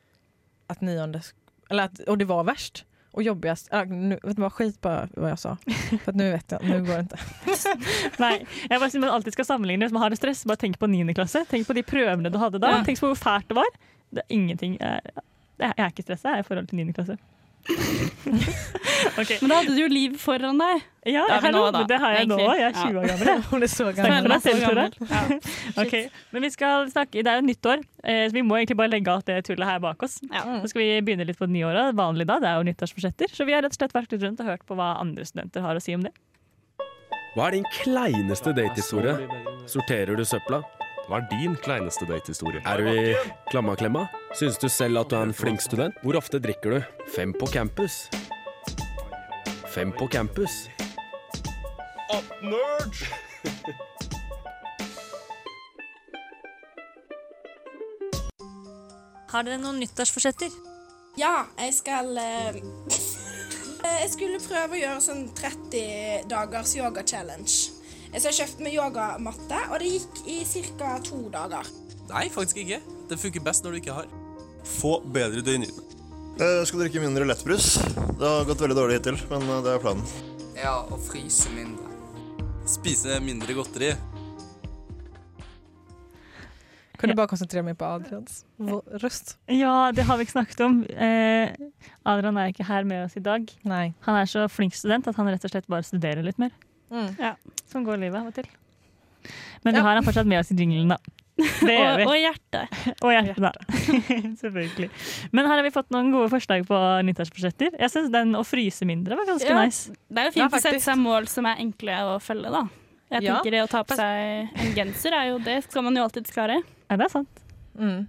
[SPEAKER 1] att nionde, sk- eller att, och det var värst och jobbigast. Ja, nu, vet du vad, skit bara vad jag sa. För att nu vet jag, nu går det inte.
[SPEAKER 3] Nei, jeg bare synes man alltid skal sammenligne Hvis man har det stress, bare tenk på 9. klasse Tenk på de prøvene du hadde da
[SPEAKER 2] Ja.
[SPEAKER 3] Tenk på hvor fælt det var Det er ingenting Jeg, jeg er ikke stresset jeg, i forhold til 9. klasse Ok
[SPEAKER 2] Men da hadde du jo livet foran deg.
[SPEAKER 3] Ja,
[SPEAKER 2] Det er vi
[SPEAKER 3] hallo,
[SPEAKER 2] nå, da,
[SPEAKER 3] det har jeg nå
[SPEAKER 2] egentlig.
[SPEAKER 3] Jeg er 20 år
[SPEAKER 2] [LAUGHS]
[SPEAKER 3] gammel jeg.
[SPEAKER 1] Hon är så gammal.
[SPEAKER 3] Snakk for deg
[SPEAKER 2] Føler
[SPEAKER 3] selv, Tora.
[SPEAKER 2] meg så gammel.
[SPEAKER 3] [LAUGHS]
[SPEAKER 2] Ja.
[SPEAKER 3] Ok, Men vi skal snakke Det er jo nyttår eh, Så vi må egentlig bare legge alt det tullet her bak oss
[SPEAKER 2] Ja.
[SPEAKER 3] Så skal vi begynne litt på det nye året Vanlig da, det er jo nyttårsforsetter Så vi har rett og slett vært litt rundt og hørt på hva andre studenter har å si om det
[SPEAKER 8] Hva er din kleineste datehistorie? Sorterer du søpla?
[SPEAKER 9] Hva er din kleineste datehistorie?
[SPEAKER 8] Er du i klammaklemma? Syns du selv at du er en flink student? Hvor ofte drikker du? Fem på campus. Fem på campus.
[SPEAKER 10] Har dere noen nyttårsforsetter?
[SPEAKER 11] Ja, jeg skal eh, eh, Jeg skulle prøve å gjøre sånn 30 dagers yoga-challenge. Eh, Så jeg kjøpte meg yogamatte, og det gikk i ca. to dager.
[SPEAKER 9] Nei, faktisk ikke. Det funker best når du ikke har.
[SPEAKER 12] Få bedre døgnrytme.
[SPEAKER 10] Jeg skal drikke mindre lettbrus. Det har gått veldig dårlig hittil, men eh, det er planen.
[SPEAKER 9] Ja, og fryse mindre. Spise mindre godteri.
[SPEAKER 1] Kunde bara koncentrera mig på Adrians vå- röst.
[SPEAKER 3] Ja, det har vi ikke snakket om. Eh, Adrian er ikke her med oss i dag.
[SPEAKER 1] Nej.
[SPEAKER 3] Han er så flink student at han rett og slett bare studerer litt mer.
[SPEAKER 1] Mm,
[SPEAKER 3] Ja, sånn går livet av og til. Men vi har han fortsatt med oss i
[SPEAKER 10] [LAUGHS]
[SPEAKER 3] jinglen, da. Det gjør
[SPEAKER 2] Og,
[SPEAKER 3] vi.
[SPEAKER 2] og hjertet.
[SPEAKER 3] Og hjertet, da. [LAUGHS] Selvfølgelig. Men her har vi fått noen gode forslag på nyttårsbudsjetter. Jeg syns den å fryse mindre var ganske
[SPEAKER 2] Ja,
[SPEAKER 3] nice.
[SPEAKER 2] Det
[SPEAKER 3] Ja,
[SPEAKER 2] er jo fint å sette
[SPEAKER 3] faktisk.
[SPEAKER 2] seg mål som er enkle å følge, da. Jeg
[SPEAKER 3] Ja.
[SPEAKER 2] tenker det å ta på seg en genser er jo det skal man jo alltid klare.
[SPEAKER 3] Ja, det er sant.
[SPEAKER 1] Mm.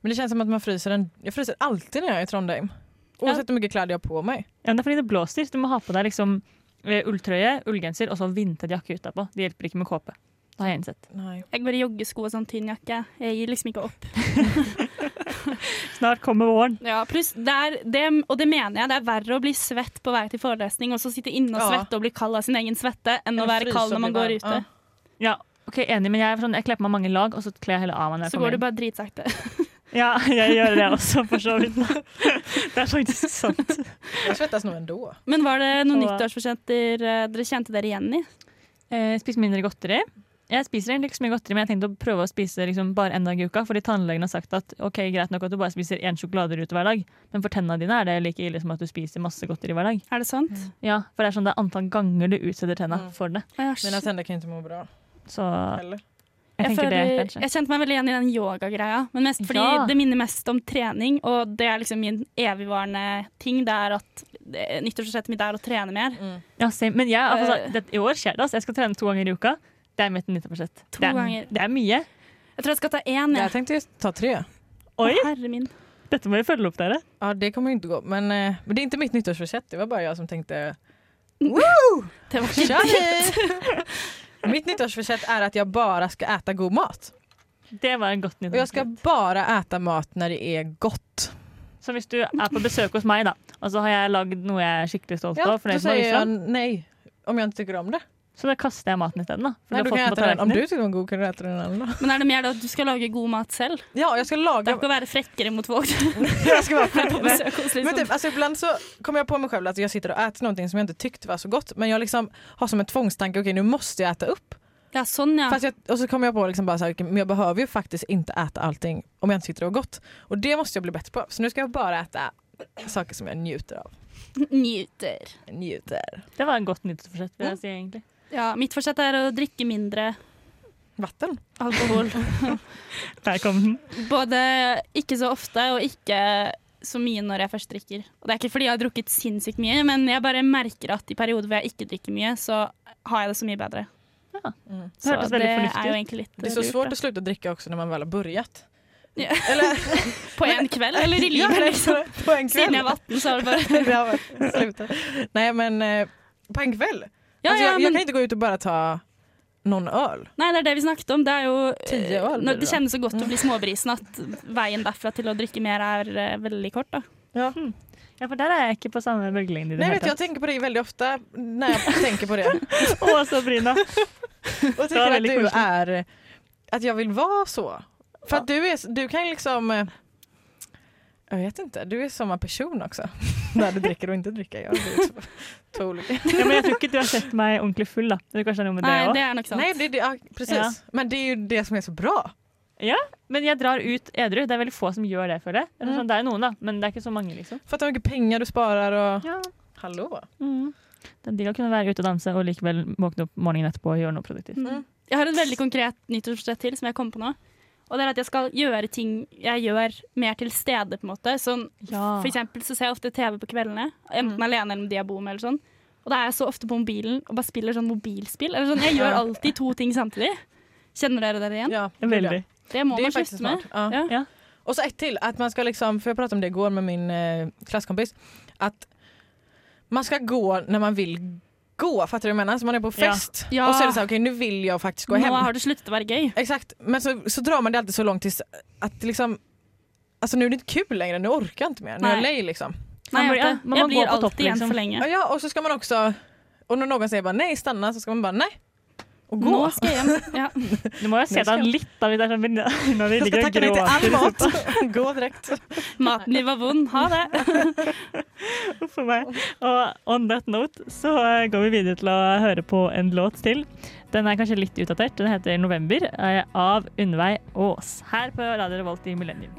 [SPEAKER 1] Men det känns som att man fryser en... Jag fryser alltid när jag är i Trondheim. Oavsett hur mycket kläder jag har på mig.
[SPEAKER 3] Ja, men det er fordi det blåser. Du må ha på deg liksom eh, ulltrøye, ullgenser og så vindtett jakke utapå. Det hjelper ikke med kåpe. Det har jeg innsett.
[SPEAKER 2] Jeg går i joggesko og sånn tynn jakke. Jeg gir liksom ikke opp.
[SPEAKER 3] Snart kommer våren.
[SPEAKER 2] Ja, pluss det er, det, og det mener jeg, det er verre å bli svett på vei til forelesning og så sitte inne og
[SPEAKER 3] Ja.
[SPEAKER 2] svette og bli kald av sin egen svette, enn
[SPEAKER 3] Eller
[SPEAKER 2] å være
[SPEAKER 3] fryse
[SPEAKER 2] kald
[SPEAKER 3] og
[SPEAKER 2] når man
[SPEAKER 3] bli
[SPEAKER 2] går
[SPEAKER 3] varm.
[SPEAKER 2] ute.
[SPEAKER 3] Ja, ok, enig, men jeg, er sånn, jeg kler på meg mange lag, og så kler jeg heller av meg når jeg
[SPEAKER 2] Så
[SPEAKER 3] kommer
[SPEAKER 2] går du
[SPEAKER 3] hjem.
[SPEAKER 2] bare dritsakte. [LAUGHS]
[SPEAKER 3] Ja, jeg gjør det også, for så vidt. [LAUGHS] Det er faktisk sånn. sant.
[SPEAKER 1] Jag svettas nog ändå.
[SPEAKER 2] Men var det noen
[SPEAKER 3] Så-
[SPEAKER 2] nyttårsforsetter eh, dere kjente dere igjen i?
[SPEAKER 3] Eh, spise mindre godteri. Jeg spiser egentlig ikke så mye godteri, men jeg tenkte å prøve å spise liksom bare en dag i uka, fordi tannlegen har sagt at ok, greit nok at du bare spiser én sjokoladerute hver dag, men for tennene dine er det like ille som at du spiser masse godteri hver dag.
[SPEAKER 2] Er det sant?
[SPEAKER 3] Ja, for det er sånn det er antall ganger du utsetter tenna for det.
[SPEAKER 1] Mina tänder kan inte må bra.
[SPEAKER 3] Så
[SPEAKER 1] Eller?
[SPEAKER 3] jeg, tenker det,
[SPEAKER 2] føler-
[SPEAKER 3] kanskje.
[SPEAKER 2] jeg kjente meg veldig igjen i den yogagreia, men mest fordi
[SPEAKER 3] Ja.
[SPEAKER 2] det minner mest om trening, og det er liksom min evigvarende ting. Det er at det- nyttårsforsettet mitt er å trene mer.
[SPEAKER 1] Mm.
[SPEAKER 3] Ja, same. Men jeg, altså,
[SPEAKER 2] Eh.
[SPEAKER 3] det, i år skjer det, altså. Jeg skal trene to ganger i uka. Det er mitt nyttårsforsett.
[SPEAKER 2] To
[SPEAKER 3] Det, er-
[SPEAKER 2] ganger.
[SPEAKER 3] det er mye.
[SPEAKER 2] Jeg tror jeg skal ta én.
[SPEAKER 1] Jag tänkte ju ta tre.
[SPEAKER 3] Oi!
[SPEAKER 2] Å, herre min.
[SPEAKER 3] Dette må vi følge opp, dere.
[SPEAKER 1] Ja, det kommer ju inte gå. Men, eh, men det är inte mitt nyttårsförsett. Det var bara jag som tänkte...
[SPEAKER 2] Det var
[SPEAKER 1] Kör vi! [LAUGHS] mitt nyttårsförsett är att jag bara ska äta god mat.
[SPEAKER 3] Det var en godt
[SPEAKER 1] Och jag ska
[SPEAKER 3] nyttårsforsett.
[SPEAKER 1] bara äta mat när det är gott.
[SPEAKER 3] Så hvis du er på besøk hos meg, da, og så har jeg lagd noe jeg er skikkelig stolt av,
[SPEAKER 1] Ja,
[SPEAKER 3] fornøyd
[SPEAKER 1] då
[SPEAKER 3] med,
[SPEAKER 1] säger
[SPEAKER 3] liksom,
[SPEAKER 1] jag nej om jag inte tycker om det.
[SPEAKER 3] så da kaster jeg maten isteden. da, for
[SPEAKER 1] Nej,
[SPEAKER 3] du
[SPEAKER 1] då
[SPEAKER 3] har
[SPEAKER 1] kan
[SPEAKER 3] fått
[SPEAKER 1] jag
[SPEAKER 3] den
[SPEAKER 1] äta den.
[SPEAKER 3] på
[SPEAKER 1] Om du
[SPEAKER 3] tallerkenen.
[SPEAKER 1] tycker den var god kan du äta den en annan dag.
[SPEAKER 2] Men er det mer da at du skal lage god mat selv?
[SPEAKER 1] Ja, jag ska laga...
[SPEAKER 2] Det er ikke å være frekkere mot
[SPEAKER 3] [LAUGHS]
[SPEAKER 2] folk.
[SPEAKER 1] jag ska [LAUGHS] vara
[SPEAKER 2] På besök hos liksom.
[SPEAKER 1] Men typ, alltså ibland så kommer jag på mig själv att jag sitter och äter någonting som jag inte tyckte var så gott men jag liksom har som en tvångstanke, okej nu måste jag äta upp.
[SPEAKER 2] Ja, sånn, ja.
[SPEAKER 1] Fast jag, och så kommer jag på liksom bara så här, okej, men jag behöver ju faktiskt inte äta allting om jag inte tyckte det var gott. Och det måste jag bli bättre på. Så nu ska jag bara äta saker som jag njuter av.
[SPEAKER 2] Nyter.
[SPEAKER 1] Njuter.
[SPEAKER 3] Det var en godt nyttårsforsett, vil jeg si, egentlig.
[SPEAKER 2] Ja, mitt forsett er å drikke mindre
[SPEAKER 1] Vatten.
[SPEAKER 2] alkohol.
[SPEAKER 3] [LAUGHS] Der kom den.
[SPEAKER 2] Både ikke så ofte og ikke så mye når jeg først drikker. Og det er ikke fordi jeg har drukket sinnssykt mye, men jeg bare merker at i perioder hvor jeg ikke drikker mye, så har jeg det så mye bedre.
[SPEAKER 1] Det
[SPEAKER 2] Så
[SPEAKER 1] hørtes veldig
[SPEAKER 2] det
[SPEAKER 1] fornuftig
[SPEAKER 2] er jo
[SPEAKER 1] ut.
[SPEAKER 2] egentlig litt
[SPEAKER 1] Mm. Det är så
[SPEAKER 2] lurt,
[SPEAKER 1] svårt
[SPEAKER 2] da.
[SPEAKER 1] att sluta dricka också när man väl har börjat. [LAUGHS]
[SPEAKER 2] På en kveld, [LAUGHS] eller i
[SPEAKER 1] Ja, [LAUGHS]
[SPEAKER 2] livet,
[SPEAKER 1] eller
[SPEAKER 2] liksom.
[SPEAKER 1] på- på en
[SPEAKER 2] Siden
[SPEAKER 1] kveld.
[SPEAKER 2] jeg var 18, så har
[SPEAKER 1] [LAUGHS]
[SPEAKER 2] det bare
[SPEAKER 1] Det har varit- sluta. Nej men eh, på en kväll.
[SPEAKER 2] Ja,
[SPEAKER 1] alltså, jag,
[SPEAKER 2] ja,
[SPEAKER 1] jag
[SPEAKER 2] men-
[SPEAKER 1] kan inte gå ut och bara ta någon öl.
[SPEAKER 2] Nei, det er det vi snakket om. Det er jo
[SPEAKER 1] Tio öl blir
[SPEAKER 2] når
[SPEAKER 1] det
[SPEAKER 2] det
[SPEAKER 1] då.
[SPEAKER 2] kjennes så godt å bli småbrisen at veien derfra til å drikke mer er eh, veldig kort, da.
[SPEAKER 1] Ja.
[SPEAKER 3] Ja, for der er jeg ikke på samme bølgelengde. i det
[SPEAKER 1] Nej,
[SPEAKER 3] hele
[SPEAKER 1] vet, du, jag
[SPEAKER 3] tatt.
[SPEAKER 1] tänker på dig väldigt ofta när jag tänker på det.
[SPEAKER 3] Å, Sabrina.
[SPEAKER 1] Och
[SPEAKER 3] var
[SPEAKER 1] tycker att
[SPEAKER 3] väldigt
[SPEAKER 1] du
[SPEAKER 3] konstigt.
[SPEAKER 1] är... eh, Att jag vill vara så. För att du, är, du kan liksom... eh, Jag vet inte, du är samma person också. [LAUGHS] När du dricker och inte dricker. Jag blir så- [LAUGHS] två olika.
[SPEAKER 3] Ja, men jeg tror ikke du har sett meg ordentlig full, da. Det kanskje er noe med det også.
[SPEAKER 1] Nej, det, det, ja, precis.
[SPEAKER 3] Ja.
[SPEAKER 1] Men det är ju det som är så bra.
[SPEAKER 3] Ja, men jeg drar ut edru. Det er veldig få som gjør det, føler jeg. Eller sånn, Det er noen, da, men det er ikke så mange, liksom.
[SPEAKER 1] För att hur mycket pengar du sparar och...
[SPEAKER 3] Ja.
[SPEAKER 1] Hallå.
[SPEAKER 3] Det er digg Mm. å kunne være ute og danse og likevel våkne opp morgenen etterpå og gjøre noe produktivt.
[SPEAKER 2] Mm. Jeg har et veldig konkret nyttårsforsett til som jeg kom på nå. Og det er at jeg skal gjøre ting jeg gjør mer til stede, på en måte. Sånn,
[SPEAKER 3] Ja.
[SPEAKER 2] For eksempel så ser jeg ofte TV på kveldene, enten alene eller med de jeg bor med. eller sånn. Og da er jeg så ofte på mobilen og bare spiller sånn mobilspill. Eller sånn, jeg gjør
[SPEAKER 1] Ja.
[SPEAKER 2] alltid to ting samtidig. Kjenner dere dere igjen?
[SPEAKER 1] Ja,
[SPEAKER 3] Veldig.
[SPEAKER 2] Det må
[SPEAKER 1] Det är
[SPEAKER 2] man
[SPEAKER 1] faktiskt
[SPEAKER 2] slutte
[SPEAKER 1] smart.
[SPEAKER 2] med.
[SPEAKER 1] Ja.
[SPEAKER 2] Ja.
[SPEAKER 1] Och så ett till, att man ska liksom, för jag pratade om det igår med min eh, klasskompis, att man ska gå när man vill gå, fattar du vad jag menar? Så man är på
[SPEAKER 2] Ja.
[SPEAKER 1] fest
[SPEAKER 2] Ja.
[SPEAKER 1] och så är det sånn, så här, okej nu vill jag faktiskt gå
[SPEAKER 2] Nå
[SPEAKER 1] hem.
[SPEAKER 2] har det sluttet å være gøy.
[SPEAKER 1] Exakt, men så, så drar man det alltid så långt tills att liksom, alltså nu är det inte kul längre, nu orkar jag inte mer, nu är jag
[SPEAKER 2] Nej.
[SPEAKER 1] lej liksom.
[SPEAKER 2] Nei, jeg, vet det.
[SPEAKER 3] man må
[SPEAKER 2] jeg
[SPEAKER 3] gå
[SPEAKER 2] blir
[SPEAKER 3] på topp,
[SPEAKER 2] alltid igjen
[SPEAKER 3] liksom.
[SPEAKER 2] for lenge.
[SPEAKER 1] Ja, ja, och så ska man också, och när någon säger bara nej stanna så ska man bara nej och gå.
[SPEAKER 2] Nå skal jeg hjem. Ja.
[SPEAKER 3] Du må jo se
[SPEAKER 1] Nå skal
[SPEAKER 3] deg
[SPEAKER 1] jeg-
[SPEAKER 3] litt, da, hvis det er sånn [LAUGHS] venninna di
[SPEAKER 1] Jag ska
[SPEAKER 3] ligger og
[SPEAKER 1] tacka nej till all
[SPEAKER 3] gråter.
[SPEAKER 1] mat, [LAUGHS] gå direkt.
[SPEAKER 2] Maten din var vond, ha det. [LAUGHS]
[SPEAKER 3] [LAUGHS] for meg. Og on that note så eh, går vi videre til å høre på en låt til. Den er kanskje litt utdatert. Den heter 'November' eh, av Unnvei Aas. Her på Radio Revolt i Millennium.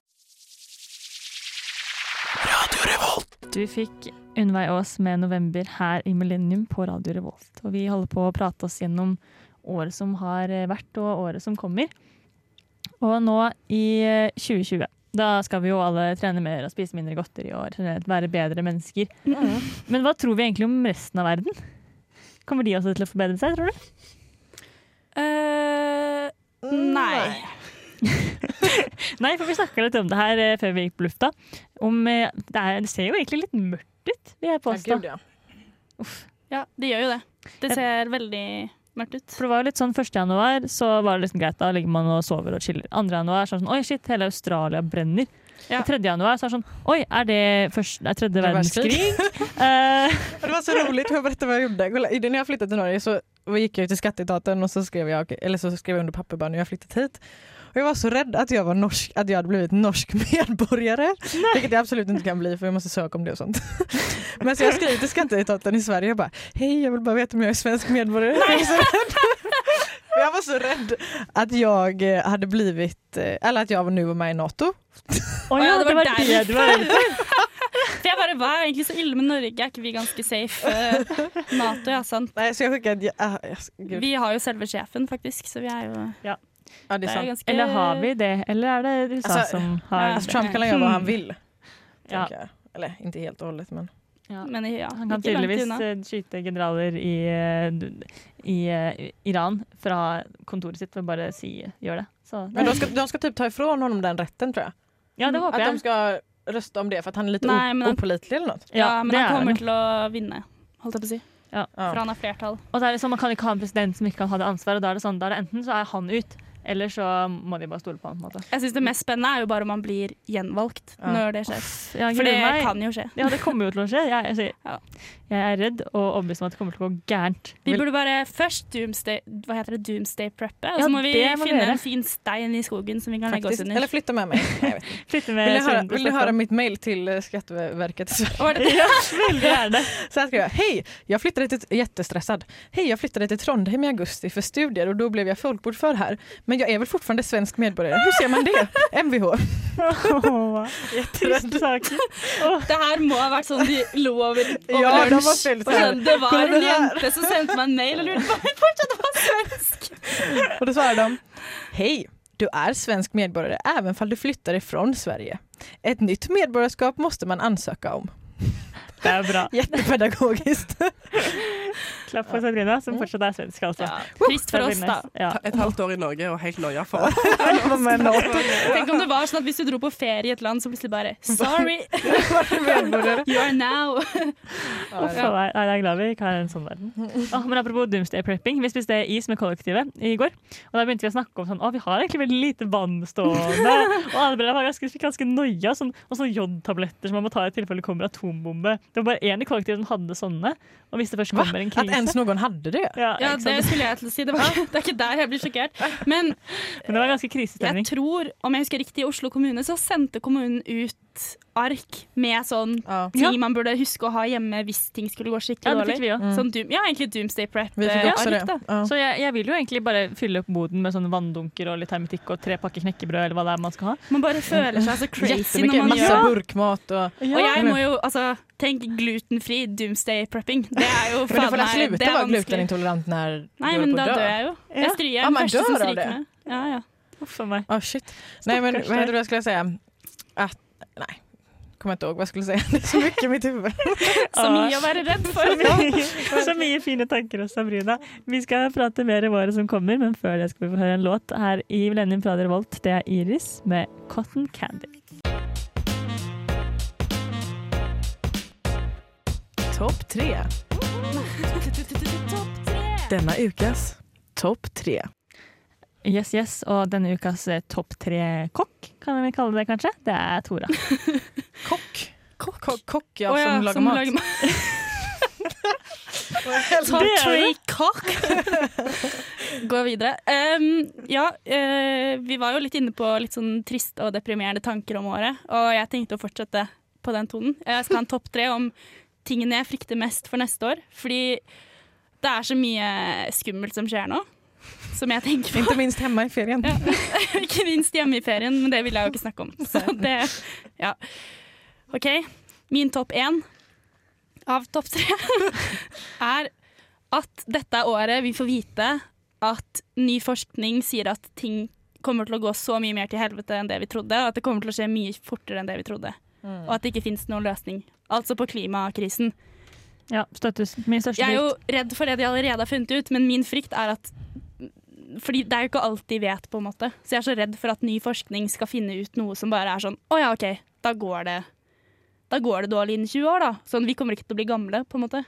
[SPEAKER 9] Radio Revolt.
[SPEAKER 3] Du fikk Unnveig Aas med 'November' her i Millennium på Radio Revolt. Og vi holder på å prate oss gjennom året som har eh, vært, og året som kommer. Og nå i eh, 2020. Da skal vi jo alle trene mer og spise mindre godteri og generelt være bedre mennesker. Men hva tror vi egentlig om resten av verden? Kommer de også til å forbedre seg, tror du?
[SPEAKER 2] Eh, nei.
[SPEAKER 3] Nei, for vi snakka litt om det her eh, før vi gikk på lufta. Om, eh, det, er, det ser jo egentlig litt mørkt ut, vil jeg påstå.
[SPEAKER 2] gud, ja. Ja, det gjør jo det. Det ser veldig mørkt ut.
[SPEAKER 3] For det var jo litt sånn 1. januar, så var det liksom greit. Da ligger man og sover og chiller. 2. januar så er det sånn oi, shit, hele Australia brenner. Og 3. januar så er det sånn oi, er det første, er tredje verdenskrig? [LAUGHS] Eh,
[SPEAKER 1] det var så roligt, för jag berättade vad jag gjorde. Kolla, i- när jag flyttade till Norge så gick jag till skatteetaten och så skrev jag, eller så skrev jag under papper bara nu har jag flyttat hit. Och jag var så rädd att jag, var norsk, att jag hade blivit norsk [LAUGHS] medborgare. Vilket jag absolut inte kan bli för jag måste söka om det och sånt. [LAUGHS] Men så jag skrev till skatteetaten i Sverige och bara hej jag vill bara veta om jag är svensk medborgare. [LAUGHS] Jag var så rädd. För Jag var så rädd att jag eh, hade blivit, eh, eller att jag nu var med i NATO.
[SPEAKER 3] Å ja, det var det du var redd
[SPEAKER 2] For jeg bare, Hva er egentlig så ille med Norge? Er ikke vi ganske safe? Eh, Nato, ja, sant.
[SPEAKER 1] Nei, så jeg fikk et, Gud.
[SPEAKER 2] Vi har jo selve sjefen, faktisk, så vi er jo
[SPEAKER 3] Ja,
[SPEAKER 1] det er sant.
[SPEAKER 3] Eller har vi det? Eller er det USA
[SPEAKER 1] Alltså,
[SPEAKER 3] som har
[SPEAKER 1] alltså, Trump kan göra vad han vill.
[SPEAKER 3] Ja.
[SPEAKER 1] tänker jag. Eller inte helt och hållet men.
[SPEAKER 2] Men ja,
[SPEAKER 3] Han kan
[SPEAKER 2] ikke langt
[SPEAKER 3] tydeligvis
[SPEAKER 2] unna.
[SPEAKER 3] eh, skyte generaler i, eh, d- i eh, Iran fra kontoret sitt ved bare å si 'gjør det'. Så,
[SPEAKER 1] Men de ska, de ska typ ta ifrån honom den rätten tror jag.
[SPEAKER 3] Ja, det hoppas
[SPEAKER 1] Att
[SPEAKER 3] jag.
[SPEAKER 1] de ska rösta om det för att han är lite
[SPEAKER 2] Nej, men
[SPEAKER 1] Nej,
[SPEAKER 2] han-
[SPEAKER 1] opålitlig eller något.
[SPEAKER 2] Ja, men han kommer til å vinne, holdt jeg på å si.
[SPEAKER 3] Ja.
[SPEAKER 2] For han har flertall.
[SPEAKER 3] Og så er det sånn, Man kan ikke ha en president som ikke kan ha det ansvaret. Da er det sånn, da er det enten så er han ut, eller så må de bare stole på han. på en måte.
[SPEAKER 2] Jeg syns det mest spennende er jo bare om han blir gjenvalgt
[SPEAKER 3] Ja.
[SPEAKER 2] når det skjer.
[SPEAKER 3] Uff, jeg
[SPEAKER 2] For det
[SPEAKER 3] gruer meg.
[SPEAKER 2] kan jo skje.
[SPEAKER 3] Ja, det kommer jo til å skje. Jeg,
[SPEAKER 2] [LAUGHS]
[SPEAKER 3] jeg, jeg er redd og overbevist om at det kommer til å gå gærent.
[SPEAKER 2] Vi burde bare først doomsday, hva heter det, doomsday preppe, og
[SPEAKER 3] Ja,
[SPEAKER 2] så må vi
[SPEAKER 3] det må vi
[SPEAKER 2] finne
[SPEAKER 3] gjøre.
[SPEAKER 2] en fin stein i skogen som vi kan legge oss
[SPEAKER 1] Faktiskt.
[SPEAKER 2] under.
[SPEAKER 1] Eller flytta med
[SPEAKER 2] [LAUGHS]
[SPEAKER 1] mig. Nej, jag vet inte. vill,
[SPEAKER 2] Eh,
[SPEAKER 1] ni höra, vill ni
[SPEAKER 3] sånn.
[SPEAKER 1] höra mitt mail till eh, Skatteverket i
[SPEAKER 3] [LAUGHS]
[SPEAKER 2] Var det det?
[SPEAKER 1] Sverige?
[SPEAKER 2] Ja, väldigt gärna.
[SPEAKER 1] Så här skrev jag. Hej, jag flyttade till, jättestressad. Hej, jag flyttade till Trondheim i augusti för studier och då blev jag folkbokförd här. Men jag är väl fortfarande svensk medborgare. Hur ser man
[SPEAKER 2] [LAUGHS]
[SPEAKER 1] det? Mvh.
[SPEAKER 3] Jätterädd.
[SPEAKER 2] Det her må ha vært sånn de lo over over
[SPEAKER 1] Ja, det var
[SPEAKER 2] lunsj.
[SPEAKER 1] veldig
[SPEAKER 2] Og sånn, Det
[SPEAKER 1] Kommer
[SPEAKER 2] var en
[SPEAKER 1] det her?
[SPEAKER 2] jente som sendte meg en mail og lurte på om jeg fortsatt var svensk.
[SPEAKER 1] Och då svarar de Hej, du är svensk medborgare även fall du flyttar ifrån Sverige. Ett nytt medborgarskap måste man ansöka om.
[SPEAKER 3] Det er bra.
[SPEAKER 1] [LAUGHS] Jättepedagogiskt.
[SPEAKER 3] Klapp for Sabrina, som fortsatt er svensk, altså.
[SPEAKER 2] trist for oss, da.
[SPEAKER 3] Ja.
[SPEAKER 4] Et halvt år i Norge og helt noia for
[SPEAKER 2] [LAUGHS] Tenk om det var sånn at hvis du dro på ferie i et land, så plutselig bare
[SPEAKER 3] [LAUGHS]
[SPEAKER 2] Sorry, [LAUGHS] you are now
[SPEAKER 3] Uff,
[SPEAKER 2] Ja.
[SPEAKER 3] nei, nei, jeg er glad vi ikke har en sånn verden. Åh, men apropos doomsday prepping, vi spiste is med kollektivet i går. Og da begynte vi å snakke om sånn, å vi har egentlig veldig lite vann stående. og alle ble var ganske, fikk ganske noia, sånn, og sånne jodtabletter som man må ta i tilfelle det kommer atombombe. Det var bare én i kollektivet som hadde sånne. Og hvis det først kommer en sånn? krise.
[SPEAKER 1] Att ens någon hade det?
[SPEAKER 3] Ja,
[SPEAKER 2] Ja,
[SPEAKER 3] ikke sant?
[SPEAKER 2] det skulle jeg til å si. Det, var, det er ikke der jeg blir sjokkert. Men,
[SPEAKER 3] det var ganske krisestemning.
[SPEAKER 2] Jeg tror, om jeg husker riktig, i Oslo kommune så sendte kommunen ut ark med sånn
[SPEAKER 3] Ja.
[SPEAKER 2] ting man burde huske å ha hjemme hvis ting skulle gå skikkelig
[SPEAKER 3] Ja, det
[SPEAKER 2] dårlig.
[SPEAKER 3] fikk vi også.
[SPEAKER 2] Sånn doom, ja, egentlig Doomsday eh,
[SPEAKER 3] Vi fikk også
[SPEAKER 2] Prep-ark.
[SPEAKER 3] det. Så jeg, jeg vil jo egentlig bare fylle opp boden med sånne vanndunker og litt hermetikk og tre pakker knekkebrød eller hva det er man skal ha.
[SPEAKER 2] Man bare føler seg så crazy når
[SPEAKER 1] Jättemycket,
[SPEAKER 2] man
[SPEAKER 1] massa
[SPEAKER 2] gjør det.
[SPEAKER 1] burkmat och...
[SPEAKER 2] Og jeg må jo, altså, tenk glutenfri doomsday prepping. Det er jo
[SPEAKER 1] Men du får
[SPEAKER 2] faen
[SPEAKER 1] väl
[SPEAKER 2] meg det
[SPEAKER 1] sluta
[SPEAKER 2] er
[SPEAKER 1] vara
[SPEAKER 2] vanskelig.
[SPEAKER 1] glutenintolerant när
[SPEAKER 2] Nei,
[SPEAKER 1] du
[SPEAKER 2] men
[SPEAKER 1] håller på
[SPEAKER 2] da
[SPEAKER 1] att dö.
[SPEAKER 2] dør jeg jo. Jeg stryker jeg er
[SPEAKER 1] Ja,
[SPEAKER 2] den
[SPEAKER 1] man
[SPEAKER 2] første
[SPEAKER 1] dör
[SPEAKER 2] som
[SPEAKER 1] av
[SPEAKER 2] stryker
[SPEAKER 1] det.
[SPEAKER 2] meg. Ja, ja.
[SPEAKER 3] Uff meg.
[SPEAKER 1] Ah, shit. Nej men
[SPEAKER 2] Stackars
[SPEAKER 1] vad heter
[SPEAKER 2] dig.
[SPEAKER 1] det jag skulle säga? Att, nej. Kommer inte ihåg vad jag skulle säga. [LAUGHS] Det är så mycket i mitt huvud.
[SPEAKER 2] Så mye å være redd
[SPEAKER 1] [LAUGHS]
[SPEAKER 2] for.
[SPEAKER 3] Så mye, så mye fine tanker hos Sabrina. Vi skal prate mer om året som kommer, men før det skal vi få høre en låt her i Millennium fra Revolt. Det er Iris med 'Cotton Candy'.
[SPEAKER 1] Topp tre. Denna ukas topp tre.
[SPEAKER 3] Yes, yes, og denne ukas eh, topp tre-kokk, kan vi kalle det kanskje, det er
[SPEAKER 2] [LAUGHS]
[SPEAKER 3] Tora.
[SPEAKER 1] Kokk, kokk ja,
[SPEAKER 3] Å ja,
[SPEAKER 1] som lagar
[SPEAKER 3] som
[SPEAKER 1] mat.
[SPEAKER 3] lagar
[SPEAKER 2] Top
[SPEAKER 1] Det er
[SPEAKER 2] three
[SPEAKER 1] det.
[SPEAKER 2] cock. [LAUGHS] Gå videre. Um, ja, eh, vi var jo litt inne på litt sånn triste og deprimerende tanker om året, og jeg tenkte å fortsette på den tonen. Jeg skal ha en topp tre om tingene jeg frykter mest for neste år, fordi det er så mye skummelt som skjer nå, som jeg tenker på.
[SPEAKER 1] Inte minst hemma i ferien.
[SPEAKER 2] [LAUGHS]
[SPEAKER 1] [LAUGHS]
[SPEAKER 2] ikke minst hjemme i ferien, men det vil jeg jo ikke snakke om. Så det, ja. OK. Min topp én av topp tre [LAUGHS] er at dette er året vi får vite at ny forskning sier at ting kommer til å gå så mye mer til helvete enn det vi trodde, og at det kommer til å skje mye fortere enn det vi trodde.
[SPEAKER 3] Mm.
[SPEAKER 2] Og at det ikke finnes noen løsning. Altså på klimakrisen.
[SPEAKER 3] Ja, støttes min største
[SPEAKER 2] Jeg er jo
[SPEAKER 3] frykt.
[SPEAKER 2] redd for det de allerede har funnet ut, men min frykt er at Fordi det er jo ikke alt de vet, på en måte. Så jeg er så redd for at ny forskning skal finne ut noe som bare er sånn Å ja, OK, da går det da går det dårlig innen 20 år, da. Sånn, vi kommer ikke til å bli gamle, på en måte.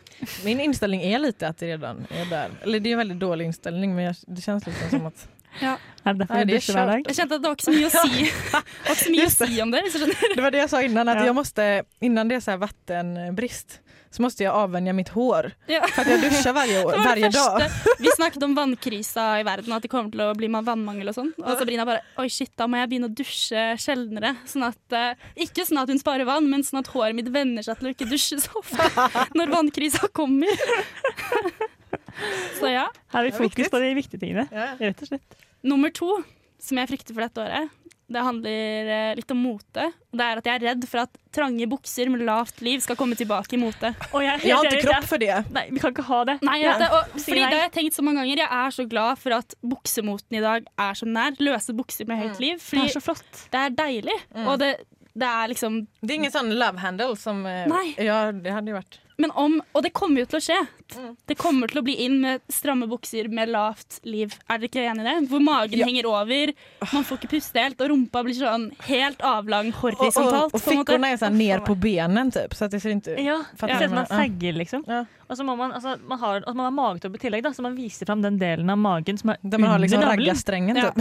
[SPEAKER 1] Min inställning är lite att det redan är där. Eller det är en väldigt dålig inställning men jag, det känns liksom som att
[SPEAKER 2] Ja.
[SPEAKER 3] Er det derfor
[SPEAKER 1] Nej,
[SPEAKER 3] du
[SPEAKER 1] det är
[SPEAKER 3] dusjer hver
[SPEAKER 1] kört.
[SPEAKER 3] dag?
[SPEAKER 2] Jeg kjente at det var ikke så mye å si, det var ikke så mye å si om det. Så skjønner
[SPEAKER 1] Det var det jag sa innan, att jag måste, innan det är så här vattenbrist så måste jag avvänja mitt hår.
[SPEAKER 2] Ja.
[SPEAKER 1] För att jag duschar varje,
[SPEAKER 2] [LAUGHS]
[SPEAKER 1] år,
[SPEAKER 2] Det var det
[SPEAKER 1] varje dag.
[SPEAKER 2] første. Vi snakket om vannkrisa i verden, at det kommer til å bli med vannmangel og sånn. Og Sabrina bare Oi, shit, da må jeg begynne å dusje sjeldnere. Sånn at, eh, ikke sånn at hun sparer vann, men sånn at håret mitt venner seg til å ikke dusje så ofte når vannkrisa kommer. Så ja.
[SPEAKER 3] Her har vi
[SPEAKER 2] Det er viktig.
[SPEAKER 3] fokus på de viktige tingene,
[SPEAKER 1] Ja.
[SPEAKER 3] rett og slett.
[SPEAKER 2] Nummer to, som jeg frykter for dette året, det handler eh, litt om mote. Det er at jeg er redd for at trange bukser med lavt liv skal komme tilbake i mote.
[SPEAKER 3] jeg er helt Jeg har ikke enig i det. kropp
[SPEAKER 1] for det.
[SPEAKER 3] Nei, vi kan ikke ha det.
[SPEAKER 2] Nei, jeg vet det. Og,
[SPEAKER 3] Sier
[SPEAKER 2] fordi
[SPEAKER 3] nei.
[SPEAKER 2] det har jeg tenkt så mange ganger. Jeg er så glad for at buksemoten i dag er så nær. Løse bukser med høyt liv. Fordi
[SPEAKER 1] Mm. Det er så
[SPEAKER 2] det er deilig.
[SPEAKER 1] Mm.
[SPEAKER 2] Og det, det er liksom
[SPEAKER 1] Det är ingen sån love handle som... eh,
[SPEAKER 2] Nei.
[SPEAKER 1] Ja, det hade ju varit.
[SPEAKER 2] men om, Og det kommer jo til å skje.
[SPEAKER 1] Mm.
[SPEAKER 2] Det kommer til å bli inn med stramme bukser med lavt liv. Er dere ikke enig i det? Hvor magen
[SPEAKER 1] Ja.
[SPEAKER 2] henger over, man får ikke puste helt, og rumpa blir sånn helt avlang
[SPEAKER 1] Och, och, Liksom,
[SPEAKER 2] horisontalt.
[SPEAKER 1] och
[SPEAKER 2] på en måte.
[SPEAKER 1] fickorna är så här ner sånn på benen typ så att det ser inte ut.
[SPEAKER 3] Ja,
[SPEAKER 1] Fattar
[SPEAKER 3] ja.
[SPEAKER 1] du
[SPEAKER 3] At man
[SPEAKER 1] vad jag menar?
[SPEAKER 3] sagger, liksom. Og så må man, altså, man har, altså, man har magetopp i tillegg, da, så man viser fram den delen av magen som er
[SPEAKER 1] man har
[SPEAKER 3] under
[SPEAKER 1] liksom
[SPEAKER 3] navlen.
[SPEAKER 1] raggastrengen,
[SPEAKER 3] Ja.